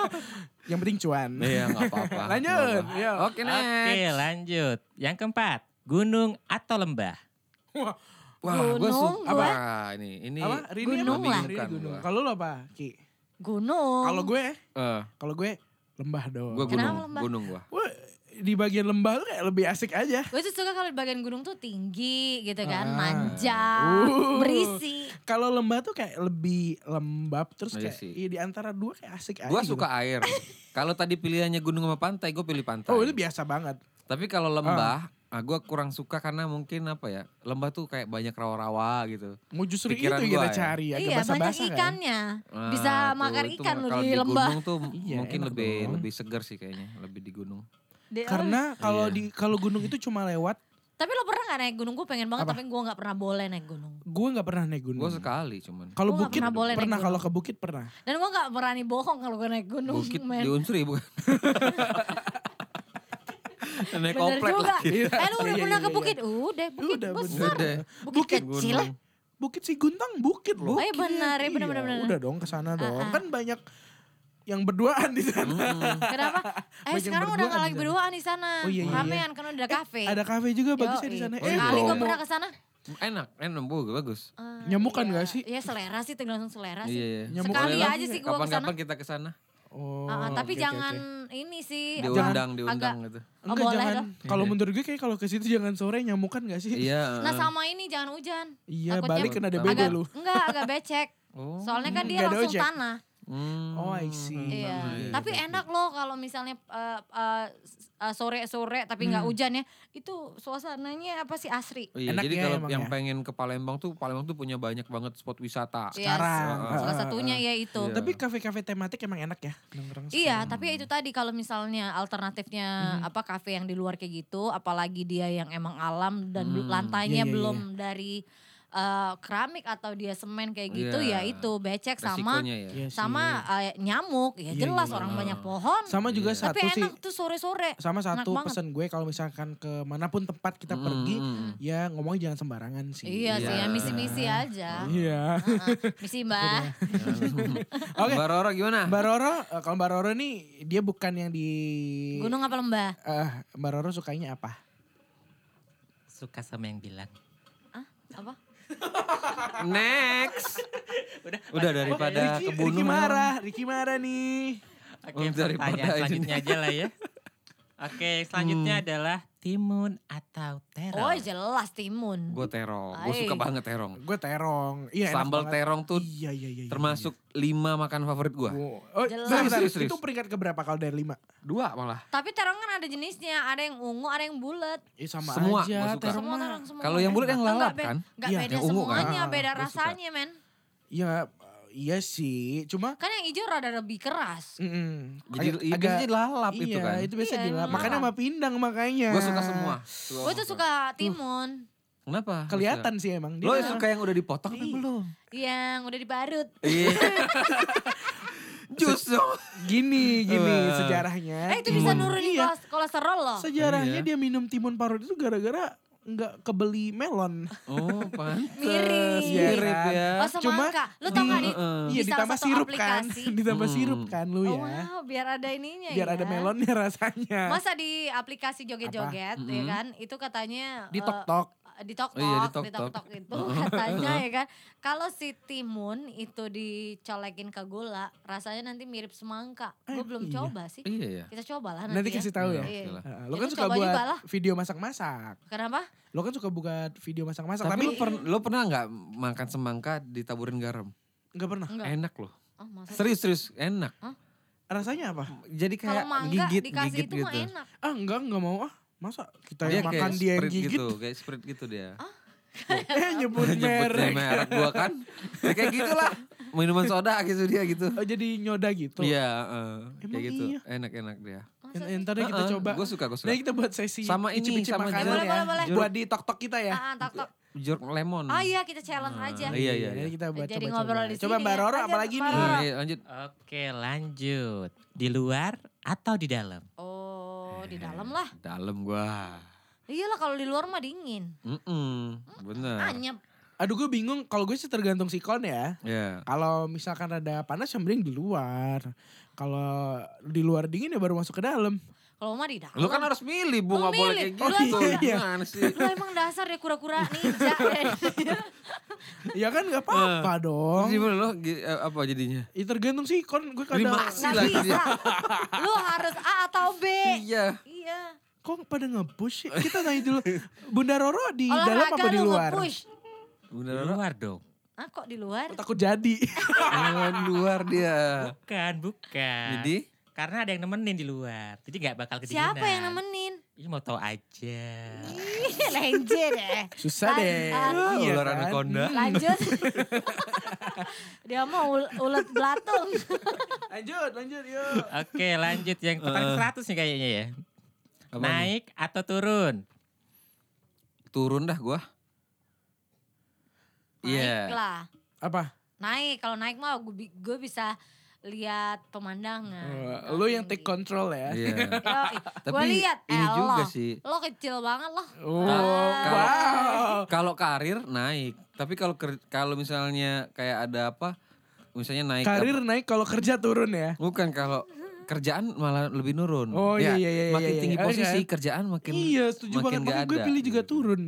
Speaker 1: <laughs> yang penting cuan.
Speaker 4: Iya, nggak apa-apa.
Speaker 1: Lanjut. Ya.
Speaker 4: Oke,
Speaker 5: oke
Speaker 4: kan next.
Speaker 5: lanjut yang keempat gunung atau lembah
Speaker 4: Wah, gue
Speaker 3: Gunung,
Speaker 4: suka.
Speaker 3: gua.
Speaker 4: Wah, ini, ini.
Speaker 1: Apa? Rini
Speaker 3: Gunung
Speaker 1: apa?
Speaker 3: lah.
Speaker 1: Rini
Speaker 4: Bukan,
Speaker 1: gunung.
Speaker 4: gua.
Speaker 1: Kalau lo apa, Ki?
Speaker 3: Gunung.
Speaker 1: Kalau gue,
Speaker 4: Eh,
Speaker 1: kalau gue lembah dong.
Speaker 4: gue
Speaker 3: Kenapa
Speaker 4: gunung,
Speaker 3: lembah?
Speaker 4: gunung gue.
Speaker 1: Wah, di bagian lembah tuh kayak lebih asik aja.
Speaker 3: Gue tuh suka kalau di bagian gunung tuh tinggi gitu kan,
Speaker 1: Ah.
Speaker 3: manja,
Speaker 1: Uh.
Speaker 3: berisi.
Speaker 1: Kalau lembah tuh kayak lebih lembab terus
Speaker 4: Iya
Speaker 1: kayak
Speaker 4: sih.
Speaker 1: iya, di antara dua kayak asik aja.
Speaker 4: Gue
Speaker 1: gitu.
Speaker 4: suka air. Kalau tadi pilihannya gunung sama pantai, gue pilih pantai.
Speaker 1: Oh, itu biasa banget.
Speaker 4: Tapi kalau lembah, ah. gue kurang suka karena mungkin apa ya, lembah tuh kayak banyak rawa-rawa gitu.
Speaker 1: Mau justru
Speaker 4: Pikiran
Speaker 1: itu yang kita
Speaker 4: gua ya.
Speaker 1: cari agak
Speaker 3: iya, banyak
Speaker 1: basah-basah kan.
Speaker 3: ikannya.
Speaker 4: Ah,
Speaker 3: Bisa
Speaker 4: tuh,
Speaker 3: makan
Speaker 4: itu
Speaker 3: ikan loh
Speaker 4: kalau
Speaker 3: di lembah.
Speaker 4: gunung tuh
Speaker 1: <laughs> Iya,
Speaker 4: mungkin
Speaker 1: enak
Speaker 4: lebih
Speaker 1: dong.
Speaker 4: lebih segar sih kayaknya, lebih di gunung.
Speaker 3: Di-
Speaker 1: Karena kalau
Speaker 4: Iya.
Speaker 1: di kalau gunung itu cuma lewat,
Speaker 3: Tapi lo pernah gak naik gunung? Gue pengen banget
Speaker 1: Apa?
Speaker 3: tapi gue gak pernah boleh naik gunung.
Speaker 1: gue nggak pernah naik gunung.
Speaker 4: Gue sekali cuman.
Speaker 1: Kalau
Speaker 3: Gua nggak
Speaker 1: bukit
Speaker 3: pernah boleh
Speaker 1: pernah,
Speaker 3: naik gunung.
Speaker 1: kalau ke bukit pernah.
Speaker 3: Dan gue gak berani bohong kalau gue naik gunung.
Speaker 4: Bukit
Speaker 3: men.
Speaker 4: di Unsri
Speaker 3: <laughs>
Speaker 4: bukan? Naik
Speaker 3: Bener
Speaker 4: komplek
Speaker 3: juga.
Speaker 4: lagi.
Speaker 3: Eh lu
Speaker 1: Iya,
Speaker 3: udah
Speaker 1: iya,
Speaker 3: pernah ke
Speaker 1: iya,
Speaker 3: bukit? Udah, bukit
Speaker 1: Udah,
Speaker 3: besar.
Speaker 4: Udah.
Speaker 3: Bukit, kecil.
Speaker 4: Gunung.
Speaker 1: Bukit si Guntang bukit loh.
Speaker 3: Oh, iya benar, iya benar,
Speaker 1: Iya,
Speaker 3: benar, benar.
Speaker 1: Udah dong ke sana dong.
Speaker 3: Ah, ah.
Speaker 1: Kan banyak yang berduaan di sana. <laughs>
Speaker 3: Kenapa? Eh
Speaker 1: Banyak
Speaker 3: sekarang udah
Speaker 1: berduaan
Speaker 3: gak
Speaker 1: di
Speaker 3: lagi
Speaker 1: sana.
Speaker 3: berduaan di sana.
Speaker 1: Oh, iya, iya, iya.
Speaker 3: Ramean kan udah ada kafe.
Speaker 1: Ada kafe juga bagusnya di
Speaker 3: Yoi.
Speaker 1: sana. Eh,
Speaker 4: Oh, iya.
Speaker 3: Sekali gue
Speaker 1: Romo.
Speaker 3: pernah ke sana.
Speaker 4: Enak, enak, bagus, bagus.
Speaker 3: Ah,
Speaker 1: Nyamukan
Speaker 3: iya.
Speaker 1: nggak sih?
Speaker 3: Iya selera sih, tergantung selera sih.
Speaker 4: Iya, iya.
Speaker 1: Nyamuk
Speaker 3: Sekali
Speaker 1: Boleh lah.
Speaker 3: aja sih gue ke sana.
Speaker 4: Kapan-kapan kita ke sana,
Speaker 1: Oh,
Speaker 3: Ah, tapi
Speaker 1: oke, oke,
Speaker 3: jangan
Speaker 1: oke.
Speaker 3: ini sih. apa,
Speaker 4: diundang,
Speaker 3: Iya. agak-
Speaker 4: diundang gitu.
Speaker 3: Oh,
Speaker 1: Enggak
Speaker 3: boleh
Speaker 1: jangan.
Speaker 3: dong.
Speaker 1: Kalau
Speaker 4: Iya.
Speaker 1: menurut gue kayak kalau ke situ jangan sore nyamukan gak sih?
Speaker 4: Iya.
Speaker 3: Nah
Speaker 4: heeh.
Speaker 3: sama ini jangan hujan.
Speaker 1: Iya,
Speaker 3: Takutnya
Speaker 1: balik kena ada
Speaker 4: Beda
Speaker 3: Agak,
Speaker 1: bego Eh. lu.
Speaker 3: enggak, agak becek.
Speaker 4: Oh.
Speaker 3: Soalnya kan
Speaker 1: Hmm,
Speaker 3: dia
Speaker 1: nggak ada
Speaker 3: langsung
Speaker 1: ojek.
Speaker 3: tanah.
Speaker 4: Hmm.
Speaker 1: Oh, I see.
Speaker 3: Iya.
Speaker 4: iya,
Speaker 3: Tapi
Speaker 4: iya,
Speaker 3: enak loh kalau misalnya eh, eh, s- eh, sore-sore tapi
Speaker 1: Hmm.
Speaker 3: nggak hujan ya. Itu suasananya apa sih asri?
Speaker 4: Iya,
Speaker 1: Enak
Speaker 4: jadi
Speaker 1: ya
Speaker 4: kalau
Speaker 1: emang
Speaker 4: yang
Speaker 1: ya.
Speaker 4: pengen ke Palembang tuh Palembang tuh punya banyak banget spot wisata.
Speaker 3: Iya,
Speaker 1: Sekarang.
Speaker 3: s- Salah
Speaker 1: Ah,
Speaker 3: satunya ya itu.
Speaker 4: Iya.
Speaker 1: Tapi kafe-kafe tematik emang enak ya? nongkrong
Speaker 3: Iya, tapi ya itu tadi kalau misalnya alternatifnya
Speaker 1: Hmm.
Speaker 3: apa kafe yang di luar kayak gitu, apalagi dia yang emang alam dan bel-
Speaker 1: Iya,
Speaker 3: lantainya
Speaker 1: iya,
Speaker 3: belum dari eh, keramik atau dia semen kayak gitu,
Speaker 4: Iya.
Speaker 3: ya itu becek sama
Speaker 4: Resikonya ya.
Speaker 1: Iya sih.
Speaker 3: sama eh, nyamuk. Ya
Speaker 1: Iya,
Speaker 3: jelas
Speaker 1: iya.
Speaker 3: orang banyak pohon.
Speaker 1: Sama juga
Speaker 4: Iya.
Speaker 1: satu
Speaker 3: tapi
Speaker 1: sih.
Speaker 3: enak tuh sore-sore.
Speaker 1: Sama satu
Speaker 3: banget.
Speaker 1: pesan gue kalau misalkan ke manapun tempat kita
Speaker 4: Mm, <laughs>
Speaker 1: pergi,
Speaker 4: mm, mm.
Speaker 1: ya ngomongnya jangan sembarangan sih.
Speaker 3: Iya sih,
Speaker 4: Iya.
Speaker 3: ya misi-misi aja.
Speaker 1: Iya.
Speaker 3: Heeh. <laughs> Misi Mbak.
Speaker 1: Oke.
Speaker 4: Mbak Roro gimana?
Speaker 1: Mbak Roro, eh, kalau Mbak Roro nih dia bukan yang di
Speaker 3: Gunung apa lembah?
Speaker 1: Eh, Mbak Roro sukanya apa?
Speaker 5: suka sama yang bilang
Speaker 3: Ah, apa?
Speaker 4: Next.
Speaker 5: udah
Speaker 4: Udah daripada
Speaker 1: Ricky, Ricky
Speaker 4: kebunuh.
Speaker 1: marah, Ricky marah nih.
Speaker 5: oke
Speaker 4: Oh, daripada
Speaker 5: pertanyaan
Speaker 4: ini. Hmm.
Speaker 5: selanjutnya aja lah ya oke selanjutnya adalah timun atau terong
Speaker 3: Oh jelas timun.
Speaker 4: Gue terong. Gue
Speaker 3: Hai.
Speaker 4: suka banget terong.
Speaker 1: Gue terong. Iya, enak
Speaker 4: Sambal
Speaker 1: banget.
Speaker 4: terong tuh
Speaker 1: Iya, iya, iya. iya,
Speaker 4: termasuk lima makan favorit gue.
Speaker 1: iya. Wow. Oh,
Speaker 3: Jelas.
Speaker 1: bentar, bentar.
Speaker 4: Serius, serius.
Speaker 1: Itu peringkat keberapa kalau dari lima?
Speaker 4: Dua malah.
Speaker 3: Tapi terong kan ada jenisnya, ada yang ungu, ada yang bulat.
Speaker 1: Eh, sama
Speaker 4: Semua gua
Speaker 1: aja,
Speaker 4: suka.
Speaker 1: terong
Speaker 3: Semua
Speaker 1: mah.
Speaker 3: terong semua.
Speaker 4: Kalau yang bulat yang
Speaker 3: Enggak
Speaker 4: lalat
Speaker 3: be-
Speaker 4: kan?
Speaker 3: Enggak
Speaker 1: Iya,
Speaker 3: beda
Speaker 4: yang ungu kan?
Speaker 3: semuanya,
Speaker 1: Ah,
Speaker 3: beda
Speaker 4: gua suka.
Speaker 3: rasanya men.
Speaker 1: Ya, eh, iya sih. Cuma
Speaker 3: Kan yang hijau rada lebih keras.
Speaker 1: mm,
Speaker 4: Jadi
Speaker 1: agak-
Speaker 4: iya, biasanya lalap itu
Speaker 1: iya,
Speaker 4: kan.
Speaker 1: itu biasa
Speaker 3: Iya,
Speaker 1: dilap.
Speaker 3: emang
Speaker 1: Makanya
Speaker 3: lalap.
Speaker 1: sama pindang makanya.
Speaker 4: Gue suka semua.
Speaker 3: Gue tuh Oh, suka timun
Speaker 4: Kenapa?
Speaker 1: Kelihatan sih emang.
Speaker 4: Lo
Speaker 1: Dia-
Speaker 4: suka yang udah dipotong
Speaker 3: Iya.
Speaker 4: apa belum?
Speaker 3: yang udah dibarut.
Speaker 4: Iya. Jus dong.
Speaker 1: Gini, gini
Speaker 4: Wah.
Speaker 1: sejarahnya.
Speaker 3: Eh itu bisa
Speaker 1: timun.
Speaker 3: nurunin
Speaker 1: Iya,
Speaker 3: koles- kolesterol loh.
Speaker 1: Sejarahnya
Speaker 4: Iya.
Speaker 1: dia minum timun parut itu gara-gara nggak kebeli melon.
Speaker 4: Oh pantes.
Speaker 3: Mirip.
Speaker 4: Mirip ya.
Speaker 3: Oh semangka. Lu tau
Speaker 1: di-
Speaker 3: gak di,
Speaker 1: Iya
Speaker 3: di salah
Speaker 1: ditambah
Speaker 3: satu
Speaker 1: sirup
Speaker 3: aplikasi.
Speaker 1: kan, ditambah
Speaker 4: Hmm.
Speaker 1: sirup kan lu
Speaker 3: Oh
Speaker 1: ya.
Speaker 3: wow, biar ada ininya
Speaker 1: Biar
Speaker 3: ya.
Speaker 1: ada melonnya rasanya.
Speaker 3: Masa di aplikasi
Speaker 4: Apa?
Speaker 3: joget-joget ya
Speaker 4: Mm-mm.
Speaker 3: kan? Itu katanya
Speaker 1: Di
Speaker 3: eh,
Speaker 1: tok tok.
Speaker 3: di
Speaker 4: Oh
Speaker 3: Tok
Speaker 4: iya, di
Speaker 3: Tok, di Tok
Speaker 4: Tok Tok.
Speaker 3: Tok itu katanya ya kan. Kalau si timun itu dicolekin ke gula, rasanya nanti mirip semangka. Gue
Speaker 1: Eh,
Speaker 3: belum
Speaker 1: iya.
Speaker 3: coba sih.
Speaker 4: Iya ya.
Speaker 3: Kita cobalah nanti.
Speaker 1: Nanti
Speaker 3: ya.
Speaker 1: kasih tahu ya.
Speaker 3: Iya.
Speaker 4: Oke lah.
Speaker 1: Heeh, Lo
Speaker 3: Itu
Speaker 1: kan suka
Speaker 3: coba
Speaker 1: buat
Speaker 3: juga lah.
Speaker 1: video masak-masak.
Speaker 3: Kenapa?
Speaker 1: Lo kan suka buat video masak-masak.
Speaker 4: Tapi, lu,
Speaker 1: Tapi
Speaker 4: per- lu pernah nggak makan semangka ditaburin garam?
Speaker 1: nggak pernah.
Speaker 3: Enggak.
Speaker 4: Enak loh.
Speaker 3: Oh, maksud-
Speaker 4: Serius serius enak.
Speaker 1: Rasanya apa?
Speaker 4: Jadi
Speaker 3: Kalau
Speaker 4: kayak
Speaker 3: mangga
Speaker 4: gigit
Speaker 3: dikasih
Speaker 4: gigit
Speaker 3: itu mah
Speaker 4: gitu.
Speaker 3: enak.
Speaker 1: Ah enggak, enggak mau ah. Masa kita yang
Speaker 4: Iya, kayak
Speaker 1: makan dia yang
Speaker 4: sprite
Speaker 1: gigit?
Speaker 4: gitu, kayak sprite gitu dia.
Speaker 1: <laughs>
Speaker 3: Ah.
Speaker 4: <laughs>
Speaker 1: eh nyebut
Speaker 4: Nyebut
Speaker 1: merek.
Speaker 4: merek gua kan. Ya kayak gitulah. Minuman soda gitu dia gitu.
Speaker 1: Oh, jadi nyoda gitu.
Speaker 4: Iya, eh, kayak
Speaker 1: Emang
Speaker 4: gitu.
Speaker 1: iya?
Speaker 4: Enak-enak dia.
Speaker 3: Masa
Speaker 1: En-
Speaker 3: sih?
Speaker 1: Entar deh kita
Speaker 4: Eh, eh,
Speaker 1: coba.
Speaker 4: Gua suka, gua suka.
Speaker 1: Nanti kita buat sesi
Speaker 4: Sama ini,
Speaker 1: icip-icip
Speaker 4: sama
Speaker 1: makanan
Speaker 3: jeruk.
Speaker 1: ya.
Speaker 3: Boleh, boleh,
Speaker 4: boleh.
Speaker 1: Buat di tok-tok kita ya.
Speaker 3: Ah, ah, Tok Tok.
Speaker 4: Jeruk lemon.
Speaker 3: Oh iya kita challenge aja.
Speaker 4: eh. Iya, iya,
Speaker 1: Nanti
Speaker 4: iya.
Speaker 1: kita buat
Speaker 3: Jadi
Speaker 1: coba-coba.
Speaker 3: ngobrol di sini
Speaker 1: Coba Mbak
Speaker 3: ya.
Speaker 1: Roro
Speaker 3: Lanjut,
Speaker 1: apalagi
Speaker 3: Mbak
Speaker 1: nih.
Speaker 3: Roro.
Speaker 4: Iya, lanjut.
Speaker 5: Oke lanjut. Di luar atau di dalam?
Speaker 3: Oh, di dalam lah.
Speaker 4: Dalam gua.
Speaker 3: Iyalah kalau di luar mah dingin.
Speaker 4: Mm-mm, bener.
Speaker 3: Anyep.
Speaker 1: Aduh gue bingung, kalau gue sih tergantung sikon ya.
Speaker 4: Ya.
Speaker 1: Kalau misalkan ada panas yang mending di luar. Kalau di luar dingin ya baru masuk ke dalam.
Speaker 3: Kalau mah di dalam.
Speaker 4: Lu kan harus milih, Bu. Nggak boleh kayak
Speaker 3: milih. Oh, iya. Lu
Speaker 4: gitu.
Speaker 1: emang-
Speaker 4: Gimana sih?
Speaker 3: Lu emang dasar ya kura-kura
Speaker 4: <laughs>
Speaker 3: ninja.
Speaker 1: ya kan gak apa-apa dong.
Speaker 4: Terus gimana lo Gi- eh, apa jadinya?
Speaker 1: Ya tergantung sikon, gue
Speaker 4: Jadi
Speaker 1: kadang.
Speaker 4: masih
Speaker 3: Gak
Speaker 4: lagi
Speaker 3: bisa.
Speaker 4: dia.
Speaker 3: Lu harus A atau B.
Speaker 4: Iya.
Speaker 3: Iya.
Speaker 1: Kok pada nge-push sih? Kita tanya <laughs> dulu. Bunda Roro di dalam
Speaker 3: Olahraga
Speaker 1: apa di
Speaker 3: lu
Speaker 1: luar?
Speaker 3: nge-push.
Speaker 5: Di
Speaker 4: Bener lo.
Speaker 3: <laughs>
Speaker 5: luar dong.
Speaker 3: Ah kok di luar?
Speaker 1: Takut jadi.
Speaker 3: <laughs>
Speaker 4: Jangan luar dia.
Speaker 5: Bukan,
Speaker 3: Nah.
Speaker 5: bukan.
Speaker 4: Jadi
Speaker 5: Karena ada yang nemenin di luar. Jadi gak bakal kedinginan.
Speaker 3: Siapa yang nemenin? <laughs>
Speaker 5: Ih mau tau aja.
Speaker 3: Ih, lenje deh.
Speaker 1: Susah
Speaker 3: ya? Lan-
Speaker 1: deh.
Speaker 3: ah,
Speaker 1: Iya
Speaker 4: ular
Speaker 1: kan?
Speaker 4: anaconda.
Speaker 1: <laughs>
Speaker 3: Lanjut. Dia mau ul- ulet belatung.
Speaker 1: Lanjut, lanjut yuk.
Speaker 5: Oke lanjut yang pertanyaan 100 nih kayaknya ya.
Speaker 4: Eh. Apa nih?
Speaker 5: Naik atau turun?
Speaker 4: turun dah gua.
Speaker 3: Naik
Speaker 4: Iya.
Speaker 3: lah.
Speaker 1: Apa?
Speaker 3: Naik. Kalau naik mah gue bisa lihat pemandangan. Nah,
Speaker 1: lu yang take control ya.
Speaker 3: <laughs>
Speaker 4: Iya.
Speaker 1: <laughs>
Speaker 3: Gue
Speaker 4: Tapi
Speaker 3: lihat.
Speaker 4: ini
Speaker 3: eh,
Speaker 4: juga
Speaker 3: lo.
Speaker 4: sih.
Speaker 3: Lo kecil banget loh.
Speaker 1: Oh,
Speaker 3: Kalau-
Speaker 1: wow.
Speaker 4: Kalau karir naik, tapi kalau ker- kalau misalnya kayak ada apa, misalnya naik apa-
Speaker 1: Karir naik kalau kerja turun ya.
Speaker 4: Bukan kalau kerjaan malah lebih nurun.
Speaker 1: Oh,
Speaker 4: Ya,
Speaker 1: iya, iya, iya,
Speaker 4: Makin
Speaker 1: iya,
Speaker 4: tinggi
Speaker 1: iya. Oh,
Speaker 4: posisi
Speaker 1: kan?
Speaker 4: kerjaan makin
Speaker 1: iya, setuju
Speaker 4: makin
Speaker 1: banget.
Speaker 4: nggak
Speaker 1: Makanya gue
Speaker 4: ada.
Speaker 1: pilih juga turun.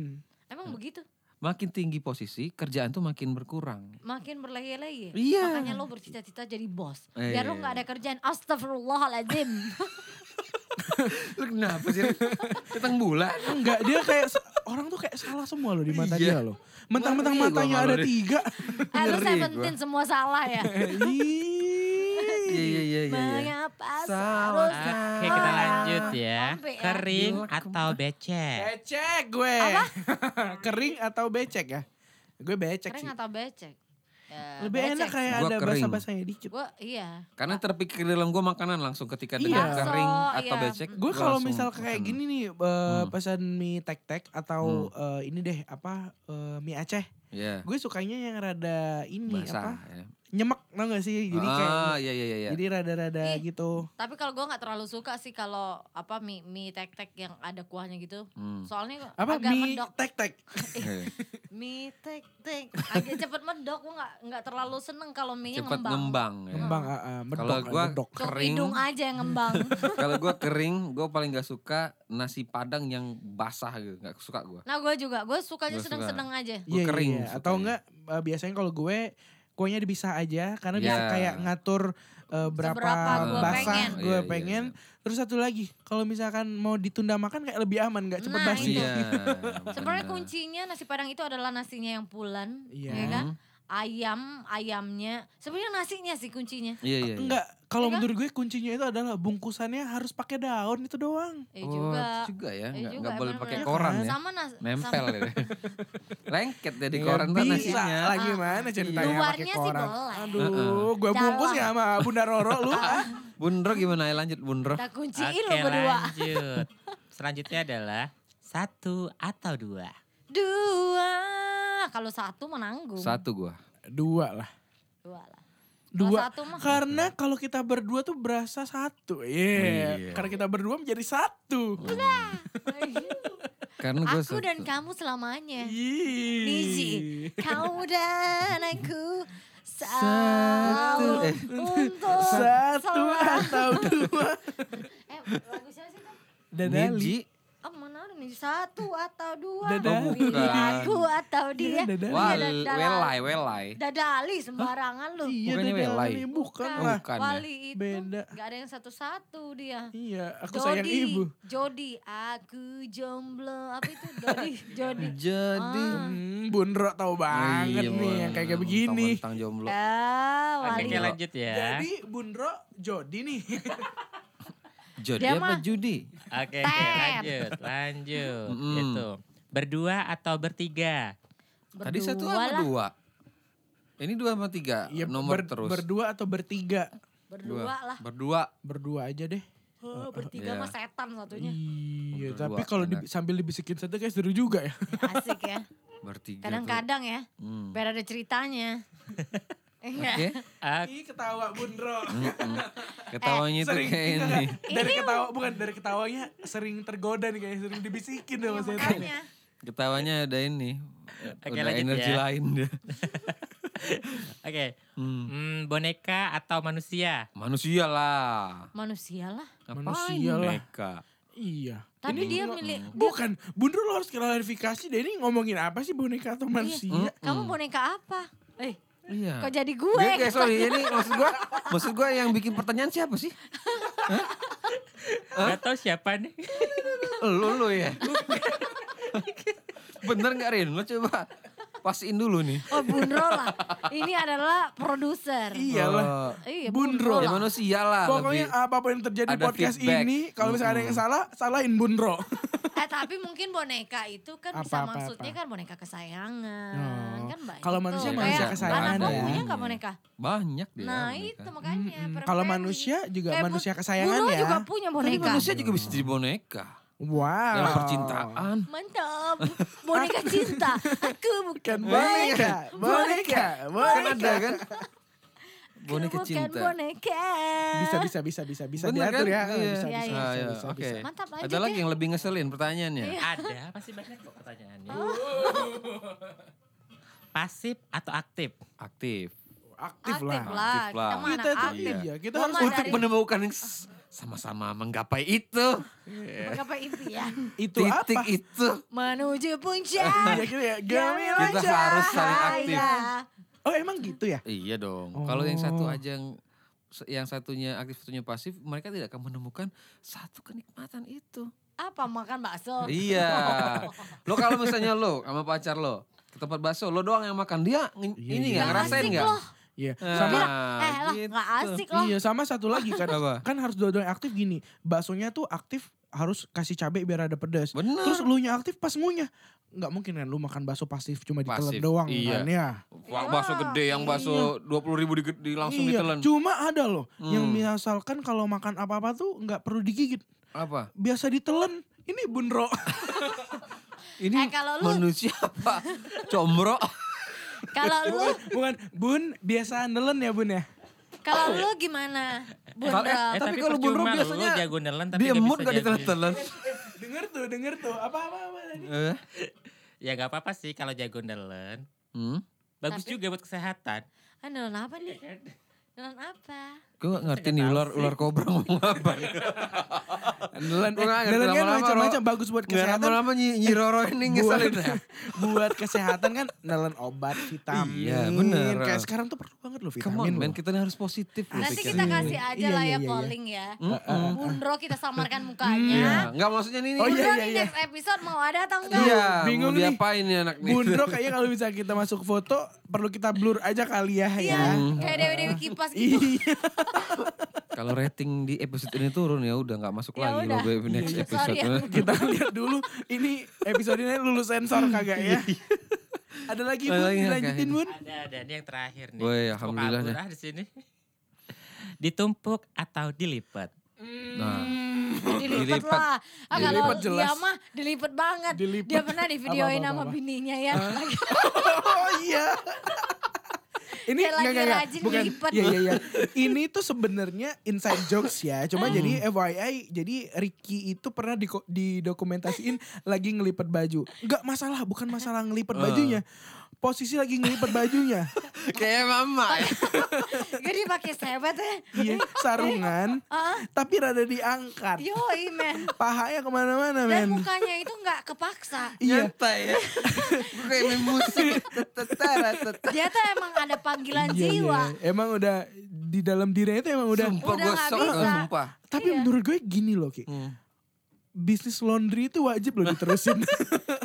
Speaker 3: Emang begitu?
Speaker 4: makin tinggi posisi kerjaan tuh makin berkurang.
Speaker 3: Makin berleye-leye.
Speaker 4: Iya.
Speaker 3: Makanya lo bercita-cita jadi bos.
Speaker 4: Eh.
Speaker 1: iya,
Speaker 3: Biar lo gak ada kerjaan.
Speaker 1: <laughs>
Speaker 3: Astagfirullahaladzim.
Speaker 4: Lu kenapa sih? Tentang bulan.
Speaker 1: Enggak, dia kayak se- <laughs> orang tuh kayak salah semua loh di mata dia
Speaker 4: Iya.
Speaker 1: loh. Mentang-mentang
Speaker 4: Ngeri gua
Speaker 1: matanya
Speaker 4: sama
Speaker 1: ada
Speaker 4: dia.
Speaker 1: tiga. <laughs>
Speaker 3: eh lo
Speaker 4: Ngeri
Speaker 3: seventeen semua salah ya.
Speaker 4: Iya
Speaker 1: Ih.
Speaker 4: iya iya iya. iya.
Speaker 3: Mengapa
Speaker 4: Salah.
Speaker 3: seharusnya.
Speaker 5: Oke kita lanjut ya.
Speaker 3: Sampai ya.
Speaker 5: Kering atau
Speaker 4: Eh.
Speaker 5: becek?
Speaker 1: Becek gue. <laughs> Kering atau becek ya? Gue becek
Speaker 3: Kering
Speaker 1: sih.
Speaker 3: atau becek? Ya,
Speaker 1: Lebih
Speaker 3: becek
Speaker 1: enak kan? kayak
Speaker 4: Gua
Speaker 1: ada
Speaker 4: kering.
Speaker 1: basa-basanya dikit.
Speaker 3: Gue iya.
Speaker 4: Karena terpikir di dalam gua makanan langsung ketika
Speaker 1: Iya.
Speaker 4: dengar kering
Speaker 3: Bakso,
Speaker 4: atau
Speaker 3: iya.
Speaker 4: becek.
Speaker 1: Gue
Speaker 4: gua
Speaker 1: kalau
Speaker 4: langsung Hmm,
Speaker 1: misal kayak
Speaker 4: pesan.
Speaker 1: gini nih eh, pesan mie tek-tek atau eh,
Speaker 4: Hmm.
Speaker 1: ini deh apa eh, mie Aceh.
Speaker 4: Iya.
Speaker 1: Gue sukanya yang rada ini apa?
Speaker 4: Basah. ya.
Speaker 1: Nyemek tau gak sih? Jadi kayak
Speaker 4: ah iya iya iya. iya.
Speaker 1: jadi rada-rada
Speaker 3: Ih.
Speaker 1: gitu.
Speaker 3: Tapi kalau gue nggak terlalu suka sih kalau apa mie mie tek tek yang ada kuahnya gitu.
Speaker 4: Hmm.
Speaker 3: Soalnya
Speaker 1: Apa
Speaker 3: agak
Speaker 1: mie
Speaker 3: medok.
Speaker 1: tek-tek?
Speaker 4: Iya.
Speaker 3: eh, Mie tek tek agak cepet medok. Gue nggak nggak terlalu seneng kalau mie nya
Speaker 4: Cepat
Speaker 3: ngembang.
Speaker 4: ngembang. ya.
Speaker 3: Hmm.
Speaker 1: Kembang ah, ah, medok.
Speaker 4: Kalau
Speaker 1: ah,
Speaker 4: gua
Speaker 1: medok.
Speaker 3: Cukup
Speaker 4: kering.
Speaker 3: hidung aja yang
Speaker 4: <laughs>
Speaker 3: ngembang.
Speaker 4: Kalau gua kering, gua paling gak suka nasi padang yang basah gitu. Gak suka gua.
Speaker 3: nah gue juga gue sukanya
Speaker 4: Gua suka.
Speaker 3: sedang sedang aja.
Speaker 4: Gua kering suka
Speaker 1: Iya,
Speaker 4: gitu.
Speaker 1: Atau
Speaker 4: ini.
Speaker 1: enggak eh, biasanya kalau gue kuahnya dipisah aja karena bisa
Speaker 4: Iya.
Speaker 1: kayak ngatur eh, berapa
Speaker 3: Seberapa
Speaker 4: gua
Speaker 1: basah
Speaker 3: pengen.
Speaker 1: gue
Speaker 4: Iya, iya,
Speaker 1: pengen. Terus satu lagi, kalau misalkan mau ditunda makan kayak lebih aman nggak cepet
Speaker 3: Nah,
Speaker 1: basi.
Speaker 3: itu.
Speaker 4: Iya.
Speaker 3: Sebenarnya
Speaker 4: benar.
Speaker 3: kuncinya nasi padang itu adalah nasinya yang pulen,
Speaker 1: Iya.
Speaker 3: ya
Speaker 4: Hmm?
Speaker 3: kan? Ayam ayamnya sebenarnya nasinya sih kuncinya.
Speaker 4: Iya iya. iya.
Speaker 1: Enggak, kalau
Speaker 3: Iya kan?
Speaker 1: menurut gue kuncinya itu adalah bungkusannya harus pakai daun itu doang.
Speaker 3: Eh
Speaker 4: Oh,
Speaker 3: juga.
Speaker 4: itu juga ya,
Speaker 3: Eh,
Speaker 4: nggak
Speaker 3: juga,
Speaker 4: nggak boleh
Speaker 3: emang
Speaker 4: pakai
Speaker 3: bener.
Speaker 4: koran ya.
Speaker 3: Sama nas
Speaker 4: Nempel
Speaker 3: sama-
Speaker 4: ya. <laughs> Lengket jadi
Speaker 1: Ya,
Speaker 4: Iya, koran tuh
Speaker 1: bisa
Speaker 4: nasinya.
Speaker 1: lah gimana ceritanya pakai
Speaker 3: Ah, Luarnya sih
Speaker 1: koran.
Speaker 3: boleh.
Speaker 1: Aduh, gue bungkus ya sama Bunda Roro
Speaker 3: <laughs>
Speaker 1: lu. ah.
Speaker 4: Bundro gimana ya lanjut Bundro?
Speaker 3: Kita kunciin lu
Speaker 5: Oke
Speaker 3: berdua. <laughs>
Speaker 5: lanjut. Selanjutnya adalah satu atau dua.
Speaker 3: Dua. Kalau satu menanggung.
Speaker 4: Satu gua.
Speaker 1: Dua lah.
Speaker 3: Dua lah. Kalau
Speaker 1: Dua.
Speaker 3: satu mah.
Speaker 1: Karena kalau kita berdua tuh berasa satu. Iya.
Speaker 4: Iya.
Speaker 1: Karena kita berdua menjadi satu.
Speaker 4: Karena Kan gua
Speaker 3: aku
Speaker 4: satu.
Speaker 3: dan kamu selamanya.
Speaker 1: Ih.
Speaker 3: Nizi. Kamu dan aku.
Speaker 4: Satu.
Speaker 3: Selalu
Speaker 4: Eh.
Speaker 3: untuk
Speaker 1: Satu
Speaker 3: selalu.
Speaker 1: atau dua.
Speaker 3: Eh lagu siapa sih? Tam?
Speaker 1: Dan
Speaker 4: Niji.
Speaker 3: Oh, mana ada nih satu atau dua
Speaker 1: Dadah.
Speaker 4: Oh, bukan.
Speaker 3: Pilih aku atau dia
Speaker 1: dadah.
Speaker 3: Iya,
Speaker 4: Wal,
Speaker 3: dadah.
Speaker 4: welai, welai.
Speaker 3: dadali sembarangan lu
Speaker 1: Iya,
Speaker 4: Bukannya
Speaker 1: Dede
Speaker 4: Welai.
Speaker 1: Alani. Bukan
Speaker 3: Bukan.
Speaker 1: lah.
Speaker 4: Bukan ya?
Speaker 3: wali itu
Speaker 1: Beda.
Speaker 3: nggak ada yang satu-satu dia
Speaker 1: Iya, aku sayang ibu.
Speaker 3: Jody, aku jomblo. Apa itu?
Speaker 1: <laughs>
Speaker 3: Dodi, Jody. Ah,
Speaker 4: Jadi
Speaker 1: Hmm, Bunro tahu banget
Speaker 4: Iya,
Speaker 1: nih yang kayak kayak
Speaker 4: mentang-mentang
Speaker 1: begini.
Speaker 4: jomblo.
Speaker 3: Ah,
Speaker 5: Oke,
Speaker 3: wali.
Speaker 5: kita lanjut ya.
Speaker 1: Jadi Bunro Jody
Speaker 4: <laughs>
Speaker 1: nih.
Speaker 4: Jodi
Speaker 3: Dia
Speaker 4: apa
Speaker 3: mah-
Speaker 4: judi?
Speaker 5: Oke, oke, lanjut, lanjut.
Speaker 4: Mm-mm.
Speaker 5: Gitu. Berdua atau bertiga?
Speaker 4: Tadi satu
Speaker 3: Berdua
Speaker 4: apa
Speaker 3: lah.
Speaker 4: dua? Ini dua sama tiga
Speaker 1: Iya,
Speaker 4: nomor
Speaker 1: ber-
Speaker 4: terus.
Speaker 1: Berdua atau bertiga?
Speaker 3: Berdua lah.
Speaker 4: Berdua.
Speaker 1: Berdua aja deh.
Speaker 3: Oh, bertiga
Speaker 4: Iya.
Speaker 3: mah setan satunya.
Speaker 1: Iya,
Speaker 4: Berdua,
Speaker 1: tapi kalau di-
Speaker 4: enak.
Speaker 1: sambil dibisikin satu kayak seru juga
Speaker 3: <laughs>
Speaker 1: ya.
Speaker 3: Asik ya.
Speaker 4: Bertiga. Hmm. tuh.
Speaker 3: Kadang-kadang ya.
Speaker 4: Hmm.
Speaker 3: Biar ada
Speaker 4: <laughs>
Speaker 3: ceritanya. Iya.
Speaker 4: Oke.
Speaker 5: Oke.
Speaker 1: Ih, ketawa Bunro.
Speaker 3: <laughs>
Speaker 4: Mm-mm. Ketawanya tuh
Speaker 1: Sering
Speaker 4: kayak ini.
Speaker 1: <laughs> dari ketawa bukan dari ketawanya sering tergoda nih kayak sering dibisikin sama setan.
Speaker 3: Iya, Makanya.
Speaker 4: Ketawanya ada ini.
Speaker 5: Oke,
Speaker 4: Udah
Speaker 5: lanjut
Speaker 4: energi
Speaker 5: ya.
Speaker 4: lain dia.
Speaker 5: Oke.
Speaker 4: Hmm.
Speaker 5: Hmm, boneka atau manusia?
Speaker 4: Manusia lah.
Speaker 3: Manusia lah.
Speaker 4: Ngapain
Speaker 1: Manusia lah.
Speaker 4: Mereka.
Speaker 1: Iya.
Speaker 3: Tapi dia
Speaker 1: ngo-
Speaker 3: milih-
Speaker 4: Hmm.
Speaker 3: dia-
Speaker 1: Bukan, Bunro lo harus klarifikasi deh ini ngomongin apa sih boneka
Speaker 3: Iya,
Speaker 1: atau
Speaker 4: Hmm,
Speaker 1: manusia?
Speaker 3: Kamu boneka apa? Eh,
Speaker 4: Iya.
Speaker 3: kok jadi gue?
Speaker 4: Gue kayak sorry ini maksud gua, maksud gua yang bikin pertanyaan siapa
Speaker 3: <laughs>
Speaker 4: sih?
Speaker 5: Gak tau siapa nih.
Speaker 3: Iya.
Speaker 4: Lu lu
Speaker 3: <laughs>
Speaker 4: ya. Bener nggak Rin? Lu coba pastiin dulu nih.
Speaker 3: Oh, Bunro
Speaker 4: <laughs>
Speaker 3: lah. Ini adalah produser.
Speaker 1: Iyalah.
Speaker 4: Eh,
Speaker 3: Iya,
Speaker 1: Bunro.
Speaker 3: Bunro.
Speaker 4: ya
Speaker 3: lah.
Speaker 4: manusia lah.
Speaker 1: Pokoknya
Speaker 3: ah.
Speaker 4: lebih.
Speaker 1: apapun yang terjadi di
Speaker 4: ada
Speaker 1: podcast
Speaker 4: feedback. Hmm.
Speaker 1: ini, kalau misalnya ada yang salah, salahin Bunro.
Speaker 3: Eh tapi mungkin boneka itu kan bisa
Speaker 1: Apa, apa,
Speaker 3: maksudnya
Speaker 1: apa.
Speaker 3: kan boneka kesayangan
Speaker 1: Oh.
Speaker 3: kan banyak.
Speaker 1: Kalau manusia
Speaker 3: tuh.
Speaker 4: manusia
Speaker 3: Kayak
Speaker 4: kesayangan
Speaker 3: Anak
Speaker 4: ya.
Speaker 3: gua punya nggak boneka?
Speaker 4: banyak dia.
Speaker 3: nah
Speaker 4: boneka.
Speaker 3: itu makanya.
Speaker 1: Mm-mm.
Speaker 3: per
Speaker 1: Hmm. Kalau
Speaker 3: family.
Speaker 1: manusia juga
Speaker 3: Kayak
Speaker 1: manusia
Speaker 3: Bu-
Speaker 1: kesayangan
Speaker 3: Buruh
Speaker 1: ya.
Speaker 3: juga punya
Speaker 4: Tapi
Speaker 3: boneka.
Speaker 4: manusia juga bisa jadi boneka.
Speaker 1: Wow.
Speaker 3: Ah.
Speaker 4: Dalam percintaan.
Speaker 3: Mantap. Boneka cinta. Aku
Speaker 1: Kan
Speaker 4: Eh,
Speaker 3: bukan boneka.
Speaker 4: iya.
Speaker 1: boneka, boneka,
Speaker 4: Kan ada
Speaker 1: boneka.
Speaker 3: <laughs>
Speaker 4: kan?
Speaker 3: Aku
Speaker 4: Boneka
Speaker 3: bukan
Speaker 4: cinta.
Speaker 3: boneka.
Speaker 1: Bisa bisa bisa bisa bisa
Speaker 4: Bener
Speaker 1: diatur
Speaker 4: kan?
Speaker 1: ya.
Speaker 4: Iya.
Speaker 1: Bisa
Speaker 3: Iya,
Speaker 1: bisa
Speaker 3: iya.
Speaker 4: Ah,
Speaker 1: bisa,
Speaker 4: iya,
Speaker 1: bisa,
Speaker 4: Oke.
Speaker 1: bisa.
Speaker 3: Mantap, lanjut
Speaker 4: Ada lagi
Speaker 3: ya.
Speaker 4: yang lebih ngeselin pertanyaannya.
Speaker 5: Ada, masih banyak kok pertanyaannya.
Speaker 3: Oh.
Speaker 5: Pasif atau aktif?
Speaker 4: Aktif.
Speaker 1: Aktif,
Speaker 3: Aktif
Speaker 1: lah.
Speaker 3: lah.
Speaker 4: Aktif lah.
Speaker 3: Kita mana
Speaker 1: Kita tuh
Speaker 3: aktif.
Speaker 1: iya, kita
Speaker 3: Gua
Speaker 1: harus
Speaker 3: mah
Speaker 4: Untuk
Speaker 3: dari
Speaker 4: menemukan yang s- sama-sama menggapai itu. iya.
Speaker 3: Menggapai
Speaker 1: <laughs>
Speaker 3: impian.
Speaker 1: Itu
Speaker 4: Titik
Speaker 1: apa?
Speaker 4: itu.
Speaker 3: Menuju puncak.
Speaker 1: Iya gitu ya. Gemilang
Speaker 4: Kita
Speaker 1: Jawa.
Speaker 4: harus saling aktif.
Speaker 3: Iya.
Speaker 1: Oh emang gitu ya?
Speaker 4: Iya dong. Kalau yang satu
Speaker 1: Oh.
Speaker 4: aja yang yang satunya aktif satunya pasif, mereka tidak akan menemukan satu kenikmatan itu.
Speaker 3: Apa makan bakso?
Speaker 4: Iya. <laughs> Lo kalau misalnya lo sama pacar lo ke tempat bakso, lo doang yang makan dia nge-
Speaker 1: Iya,
Speaker 4: ini
Speaker 1: iya.
Speaker 4: nggak
Speaker 1: Nggak
Speaker 4: ngerasain
Speaker 3: asik
Speaker 4: nggak?
Speaker 3: loh.
Speaker 1: Iya.
Speaker 4: Nah,
Speaker 1: Sama
Speaker 3: eh lah, nggak
Speaker 4: gitu.
Speaker 3: asik loh.
Speaker 1: Iya, sama satu lagi kan.
Speaker 4: Apa?
Speaker 1: kan harus dua-duanya aktif gini. Baksonya tuh aktif harus kasih cabai biar ada pedas.
Speaker 4: Bener.
Speaker 1: Terus lu nya aktif pas ngunyah. Nggak mungkin kan lu makan bakso pasif cuma ditelan
Speaker 4: Pasif,
Speaker 1: doang
Speaker 4: iya.
Speaker 1: kan ya.
Speaker 4: Wah, bakso gede yang bakso dua puluh ribu di, di- langsung
Speaker 1: iya,
Speaker 4: ditelan.
Speaker 1: cuma ada loh yang
Speaker 4: Hmm.
Speaker 1: misalkan kalau makan apa-apa tuh nggak perlu digigit.
Speaker 4: Apa?
Speaker 1: Biasa ditelan. Ini <laughs> bunro.
Speaker 4: Ini
Speaker 3: Eh, kalau lu-
Speaker 4: manusia apa? Combro.
Speaker 3: Kalau lu,
Speaker 1: Bukan bun biasa nelen ya bun ya.
Speaker 3: kalau lu gimana? Bun,
Speaker 4: Kalau-
Speaker 3: Bro?
Speaker 4: eh, tapi kalau Bunro
Speaker 5: percuma lu
Speaker 4: biasanya
Speaker 5: jago nelen tapi
Speaker 4: Dia
Speaker 5: nggak
Speaker 4: mood
Speaker 5: bisa
Speaker 4: gak
Speaker 5: jadi.
Speaker 4: ditelan-telan.
Speaker 1: Dengar tuh, denger tuh. Apa-apa apa tadi?
Speaker 4: Eh,
Speaker 5: Ya gak apa-apa sih kalau jago nelen.
Speaker 4: Hmm?
Speaker 5: Bagus
Speaker 3: Tapi-
Speaker 5: juga buat kesehatan.
Speaker 1: eh,
Speaker 3: Ah, nelan apa nih? Nelan apa?
Speaker 4: Gue gak ngerti nih ular ular kobra ngomong apa. ya. eh,
Speaker 1: Nelen,
Speaker 4: Gua nggak Nah, ngerti
Speaker 1: nelen kan
Speaker 4: lama-lama lo-
Speaker 1: macam-macam bagus buat
Speaker 4: Gak
Speaker 1: kesehatan.
Speaker 4: lama-lama nyi, nyi Roro ini ngeselin ya.
Speaker 1: buat, buat kesehatan kan nelen obat vitamin.
Speaker 4: Iya, bener.
Speaker 1: Kayak sekarang tuh perlu banget loh
Speaker 4: Come on
Speaker 1: vitamin.
Speaker 4: men,
Speaker 1: loh.
Speaker 4: kita nih harus positif. Eh, lu
Speaker 3: Nanti
Speaker 4: pikir.
Speaker 3: kita kasih aja
Speaker 1: Iya,
Speaker 3: lah
Speaker 1: iya, iya,
Speaker 3: ya
Speaker 1: iya.
Speaker 3: polling ya.
Speaker 4: Mm-mm.
Speaker 3: Bunro kita samarkan
Speaker 4: eh. Iya,
Speaker 3: mukanya.
Speaker 4: Enggak maksudnya nih. nih.
Speaker 1: Oh,
Speaker 3: Bunro
Speaker 1: iya, iya,
Speaker 3: nih
Speaker 1: iya.
Speaker 3: next episode mau ada atau enggak?
Speaker 4: Iya,
Speaker 1: Bingung
Speaker 4: bingung
Speaker 1: nih.
Speaker 4: diapain nih anak nih.
Speaker 1: Bundro kayaknya kalau bisa kita masuk foto perlu kita blur aja kali ya
Speaker 3: Iya,
Speaker 1: ya.
Speaker 3: kayak Dewi-Dewi Kipas gitu.
Speaker 1: Iya.
Speaker 4: <laughs> Kalau rating di episode ini turun ya udah nggak masuk
Speaker 3: Ya
Speaker 4: lagi
Speaker 3: udah.
Speaker 4: logo next
Speaker 3: Sorry
Speaker 4: episode.
Speaker 3: ya.
Speaker 1: kita lihat dulu ini episode ini lulus sensor kagak ya. Ada lagi
Speaker 4: Iya. Ada
Speaker 1: Bun
Speaker 4: lagi nggak,
Speaker 1: dilanjutin
Speaker 4: Kak?
Speaker 1: Bun.
Speaker 5: Ada, ada. Ini yang terakhir nih.
Speaker 4: Woi,
Speaker 5: Terus mau
Speaker 4: alhamdulillah ya.
Speaker 5: kabur
Speaker 4: deh.
Speaker 5: ah di sini. <laughs> Ditumpuk atau dilipat?
Speaker 4: Nah,
Speaker 3: Dilipat
Speaker 4: Dilipat.
Speaker 3: Hmm, lah. Ah,
Speaker 1: Dilipat
Speaker 3: kalau
Speaker 1: jelas.
Speaker 3: dia mah dilipat banget.
Speaker 1: Dilipat.
Speaker 3: Dia pernah di videoin
Speaker 1: Apa, apa,
Speaker 3: sama
Speaker 1: apa.
Speaker 3: bininya ya.
Speaker 1: Oh iya. Ini
Speaker 3: Kayak lagi
Speaker 1: enggak enggak
Speaker 3: rajin
Speaker 1: bukan.
Speaker 3: lipet.
Speaker 1: Iya iya iya. Ini tuh sebenarnya inside jokes ya.
Speaker 4: Hmm.
Speaker 1: Cuma jadi FYI, jadi Ricky itu pernah di
Speaker 4: Eh.
Speaker 1: didokumentasiin lagi ngelipet baju. Enggak masalah, bukan masalah ngelipet bajunya. posisi lagi ngelipet bajunya.
Speaker 4: Kayak mama.
Speaker 3: Jadi pakai sebet ya.
Speaker 1: iya, sarungan.
Speaker 3: Ah,
Speaker 1: Tapi rada diangkat.
Speaker 3: yoi men.
Speaker 1: Pahanya kemana-mana men.
Speaker 3: Dan mukanya itu nggak kepaksa.
Speaker 1: Iya,
Speaker 4: Nyantai ya. Gue kayak main musik. Tetara, tetara.
Speaker 3: Dia tuh emang ada panggilan
Speaker 1: iya,
Speaker 3: jiwa.
Speaker 1: iya. Emang udah di dalam dirinya itu emang udah.
Speaker 4: Sumpah
Speaker 3: Udah
Speaker 4: gue
Speaker 3: nggak
Speaker 4: shock.
Speaker 3: bisa.
Speaker 4: Sumpah.
Speaker 1: Tapi
Speaker 3: Iya.
Speaker 1: menurut gue gini loh Ki.
Speaker 4: Hmm.
Speaker 1: Bisnis laundry itu wajib loh
Speaker 3: <laughs>
Speaker 1: diterusin.
Speaker 3: Iya.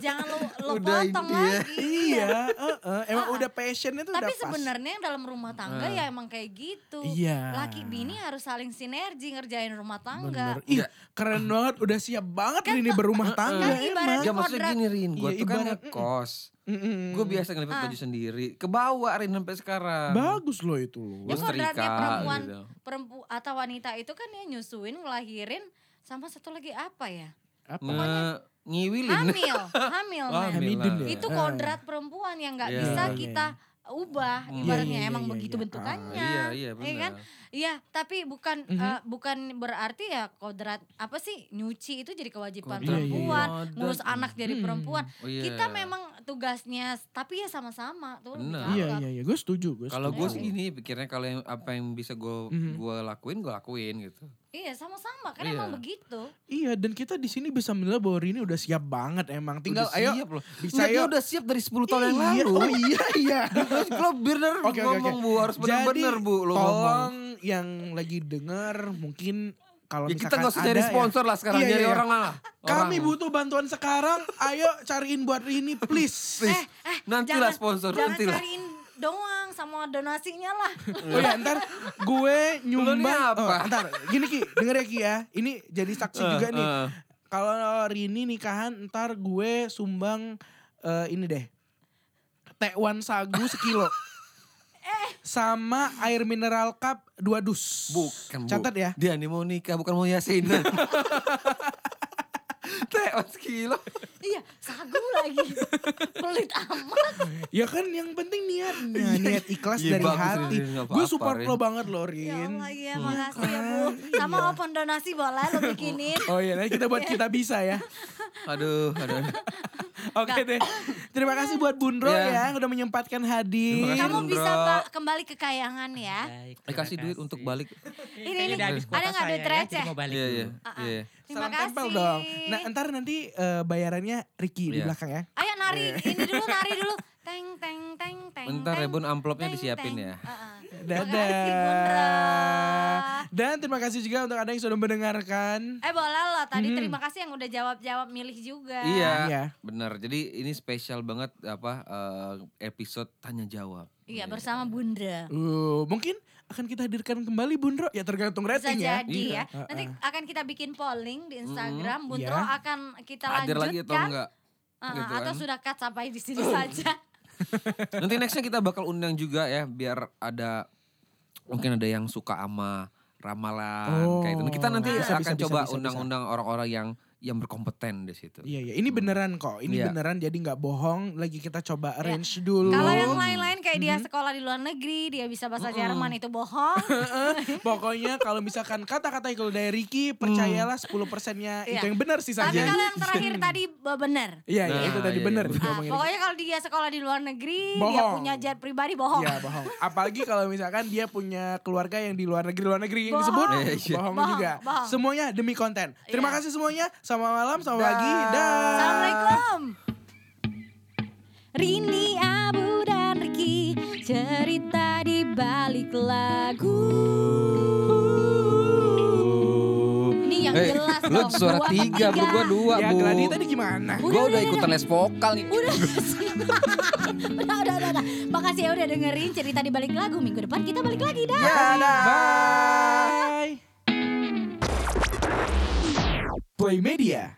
Speaker 3: Jangan lo, lo
Speaker 4: Udah
Speaker 3: potong
Speaker 4: ini ya.
Speaker 3: lagi.
Speaker 1: iya, heeh. emang
Speaker 3: Ah,
Speaker 1: udah passionnya tuh udah
Speaker 3: Tapi
Speaker 1: pas. Ah.
Speaker 3: sebenarnya yang dalam rumah tangga ya emang kayak gitu.
Speaker 1: Iya.
Speaker 3: Laki bini harus saling sinergi ngerjain rumah tangga.
Speaker 1: Bener. Ih, keren banget. Udah siap banget
Speaker 3: Kan
Speaker 1: ini berumah tangga
Speaker 3: kan ibarat-
Speaker 1: emang.
Speaker 4: Ya maksudnya
Speaker 3: Kodrat.
Speaker 4: gini Rin, gue
Speaker 1: Iya,
Speaker 4: tuh kan
Speaker 1: ibarat-
Speaker 4: ngekos.
Speaker 1: Mm-mm.
Speaker 4: Gue biasa
Speaker 3: Ah.
Speaker 4: ngelipet baju sendiri. Kebawa Rin sampai sekarang.
Speaker 1: Bagus loh itu. loh.
Speaker 3: Ya
Speaker 4: Gua
Speaker 3: kodratnya
Speaker 4: setrika,
Speaker 3: perempuan
Speaker 4: gitu.
Speaker 3: perempu atau wanita itu kan ya nyusuin, ngelahirin sama satu lagi apa ya?
Speaker 1: Apa?
Speaker 4: Nge- <laughs> Ngiwilin.
Speaker 1: <laughs>
Speaker 3: Hamil, hamil.
Speaker 4: Wah,
Speaker 3: men.
Speaker 1: Hamidun ya.
Speaker 3: Itu
Speaker 1: Ah.
Speaker 3: kodrat perempuan yang nggak
Speaker 4: Iya,
Speaker 3: bisa
Speaker 1: iya,
Speaker 3: kita ubah
Speaker 4: Hmm.
Speaker 1: Iya,
Speaker 3: ibaratnya
Speaker 1: iya,
Speaker 3: emang
Speaker 1: iya,
Speaker 3: begitu
Speaker 1: iya.
Speaker 3: bentukannya.
Speaker 4: Iya, iya
Speaker 3: Iya kan?
Speaker 4: benar.
Speaker 3: Iya, tapi bukan
Speaker 1: Mhm.
Speaker 3: eh, bukan berarti ya kodrat apa sih nyuci itu jadi kewajiban
Speaker 4: Kodrat.
Speaker 3: perempuan,
Speaker 4: Iya, iya.
Speaker 3: ngurus anak jadi
Speaker 1: Hmm.
Speaker 3: perempuan.
Speaker 4: Oh, iya.
Speaker 3: Kita memang tugasnya tapi ya sama-sama tuh. lebih
Speaker 4: Benar.
Speaker 1: Iya,
Speaker 3: cakep.
Speaker 1: iya, iya. Gue setuju. Gue
Speaker 4: Kalau gue
Speaker 1: setuju.
Speaker 4: sih
Speaker 3: Iya.
Speaker 4: gini pikirnya kalau yang- apa yang bisa gue
Speaker 1: Mhm.
Speaker 4: gua lakuin gue lakuin gitu.
Speaker 3: Iya, sama-sama kan
Speaker 4: Iya.
Speaker 3: emang begitu.
Speaker 1: Iya, dan kita di sini bisa menilai bahwa Rini udah siap banget emang. Tinggal
Speaker 4: udah
Speaker 1: ayo.
Speaker 4: siap loh.
Speaker 1: Bisa
Speaker 4: Nggak, dia
Speaker 1: yuk.
Speaker 4: udah siap dari 10 tahun yang
Speaker 1: Iya,
Speaker 4: lalu.
Speaker 1: Oh <laughs> iya, iya.
Speaker 4: Terus Lo bener
Speaker 1: <laughs> Oke, oke,
Speaker 4: ngomong
Speaker 1: oke.
Speaker 4: bu harus bener-bener bu lo ngomong.
Speaker 1: tolong yang lagi denger mungkin kalau
Speaker 4: Ya kita
Speaker 1: misalkan
Speaker 4: gak usah
Speaker 1: ada
Speaker 4: nyari
Speaker 1: ya,
Speaker 4: sponsor lah sekarang
Speaker 1: Iya, iya,
Speaker 4: nyari
Speaker 1: iya.
Speaker 4: orang lah.
Speaker 1: Kami
Speaker 4: Orang.
Speaker 1: butuh bantuan sekarang. Ayo cariin buat Rini, please.
Speaker 4: Please. nanti lah
Speaker 3: Eh, Jangan-
Speaker 4: sponsor
Speaker 3: Jangan
Speaker 4: nanti lah.
Speaker 3: cariin doang sama donasinya lah. <laughs>
Speaker 1: Oh ya ntar gue nyumbang.
Speaker 4: apa?
Speaker 1: Oh, ntar gini Ki, denger ya Ki ya. Ini jadi saksi
Speaker 4: Eh,
Speaker 1: juga nih.
Speaker 4: eh.
Speaker 1: Kalau Rini nikahan ntar gue sumbang eh, ini deh. Tekwan sagu sekilo. Sama air mineral cup dua dus.
Speaker 4: Bukan bu.
Speaker 1: Catat ya.
Speaker 4: Dia nih mau nikah bukan mau yasin. Teos kilo.
Speaker 3: iya, sagu lagi. <laughs> Pelit amat.
Speaker 1: Ya kan yang penting niatnya. Niat ikhlas
Speaker 4: Iya,
Speaker 1: dari
Speaker 4: bagus,
Speaker 1: hati.
Speaker 4: Rin, nggak
Speaker 1: Gue
Speaker 4: apa-apa,
Speaker 1: support
Speaker 4: Rin.
Speaker 1: lo banget lo
Speaker 3: Ya
Speaker 1: Rin.
Speaker 3: Allah, iya
Speaker 4: Hmm.
Speaker 3: makasih ya Bu. Sama open donasi boleh lo bikinin.
Speaker 1: Oh iya nanti kita buat kita bisa
Speaker 3: <laughs>
Speaker 1: ya.
Speaker 4: Aduh, aduh. aduh.
Speaker 1: Oke deh. Terima kasih buat Bundro
Speaker 4: Iya.
Speaker 1: ya. Udah menyempatkan
Speaker 4: Terima
Speaker 1: hadir.
Speaker 4: kasih.
Speaker 3: Kamu bisa
Speaker 4: Bro.
Speaker 3: Pak, kembali ke kayangan ya.
Speaker 4: Eh,
Speaker 5: Baik, terima
Speaker 4: kasih duit untuk balik.
Speaker 5: kasih. Ini,
Speaker 3: Ini, ini.
Speaker 5: udah habis
Speaker 3: Ada
Speaker 5: kuota
Speaker 3: nggak
Speaker 5: saya
Speaker 3: duit
Speaker 5: ya,
Speaker 3: receh?
Speaker 5: jadi mau balik
Speaker 4: Iya
Speaker 5: dulu.
Speaker 4: iya.
Speaker 3: Uh-uh.
Speaker 4: Iya.
Speaker 3: Terima
Speaker 1: Salam
Speaker 3: kasih.
Speaker 1: tempel dong. Nah ntar nanti eh, bayarannya Ricky di
Speaker 4: Iya.
Speaker 1: belakang ya.
Speaker 3: Ayo nari, ini dulu nari
Speaker 1: <laughs>
Speaker 3: dulu. Teng teng teng teng.
Speaker 4: Bentar ya
Speaker 3: teng,
Speaker 4: bun amplopnya
Speaker 3: teng,
Speaker 4: disiapin
Speaker 3: teng.
Speaker 4: ya.
Speaker 3: Uh-uh. Terima kasih, Bunda.
Speaker 1: Dadah. <laughs> Dan terima kasih juga untuk ada yang sudah mendengarkan.
Speaker 3: Eh boleh loh tadi terima kasih yang udah jawab-jawab milih juga.
Speaker 4: Hmm. Iya,
Speaker 1: Iya.
Speaker 4: benar. Jadi ini spesial banget apa eh, episode tanya jawab.
Speaker 3: Iya bersama Bunda.
Speaker 1: Uh, mungkin akan kita hadirkan kembali Bundro. Ya tergantung
Speaker 3: Bisa
Speaker 1: rating ya.
Speaker 3: jadi
Speaker 4: Iya.
Speaker 3: ya. Nanti akan kita bikin polling di Instagram. Buntro
Speaker 1: Iya.
Speaker 3: akan kita
Speaker 4: Hmm. Hadir lagi atau
Speaker 3: lanjutkan.
Speaker 4: enggak?
Speaker 3: Uh-uh,
Speaker 4: gitu
Speaker 3: atau
Speaker 4: kan.
Speaker 3: sudah cut sampai di
Speaker 4: <laughs>
Speaker 3: sini saja.
Speaker 4: Nanti nextnya kita bakal undang juga ya biar ada mungkin ada yang suka sama ramalan
Speaker 1: Oh.
Speaker 4: kayak itu. Kita nanti
Speaker 1: Bisa,
Speaker 4: akan
Speaker 1: bisa, bisa,
Speaker 4: coba
Speaker 1: bisa, bisa.
Speaker 4: undang-undang orang-orang yang yang berkompeten di situ.
Speaker 1: Iya, iya. Ini beneran kok. Ini
Speaker 4: Iya.
Speaker 1: beneran jadi nggak bohong. Lagi kita coba arrange dulu.
Speaker 3: Iya. Kalau yang lain-lain kayak dia
Speaker 1: Mm-hmm.
Speaker 3: sekolah di luar negeri, dia bisa bahasa Jerman itu
Speaker 1: <laughs>
Speaker 3: bohong.
Speaker 1: Pokoknya kalau misalkan kata-kata itu dari Ricky, percayalah 10 persennya
Speaker 3: Hmm. Iya.
Speaker 1: itu yang benar sih
Speaker 3: Tapi
Speaker 1: saja.
Speaker 3: kalau yang terakhir tadi be- bener.
Speaker 1: Iya, iya,
Speaker 4: Nah,
Speaker 1: itu tadi
Speaker 4: iya,
Speaker 1: benar.
Speaker 4: iya.
Speaker 1: dia
Speaker 3: Ah,
Speaker 1: ngomongin Ricky.
Speaker 3: pokoknya kalau dia sekolah di luar negeri, dia
Speaker 1: Bohong.
Speaker 3: punya jet pribadi bohong.
Speaker 1: Iya bohong. Apalagi kalau misalkan dia punya keluarga yang di luar negeri luar negeri yang
Speaker 3: Bohong.
Speaker 1: disebut
Speaker 4: Iya, iya.
Speaker 1: bohong
Speaker 3: Bohong,
Speaker 1: juga.
Speaker 3: bohong.
Speaker 1: Semuanya demi konten. Terima
Speaker 3: Iya.
Speaker 1: kasih semuanya. Selamat malam, selamat pagi. Dah.
Speaker 3: Assalamualaikum. Rini Abu dan Riki cerita di balik lagu. Ini yang
Speaker 4: Eh,
Speaker 3: jelas
Speaker 4: lu
Speaker 3: dong.
Speaker 4: suara
Speaker 3: dua per
Speaker 4: tiga, bu, gua dua,
Speaker 1: Ya
Speaker 4: bu.
Speaker 1: Gladi tadi gimana?
Speaker 4: Nah, Gua udah ikutan les vokal nih.
Speaker 3: Udah, <laughs> udah, udah, udah, udah. Makasih ya udah dengerin cerita di balik lagu. Minggu depan kita balik lagi dah.
Speaker 4: Ya.
Speaker 1: Bye. Play Media.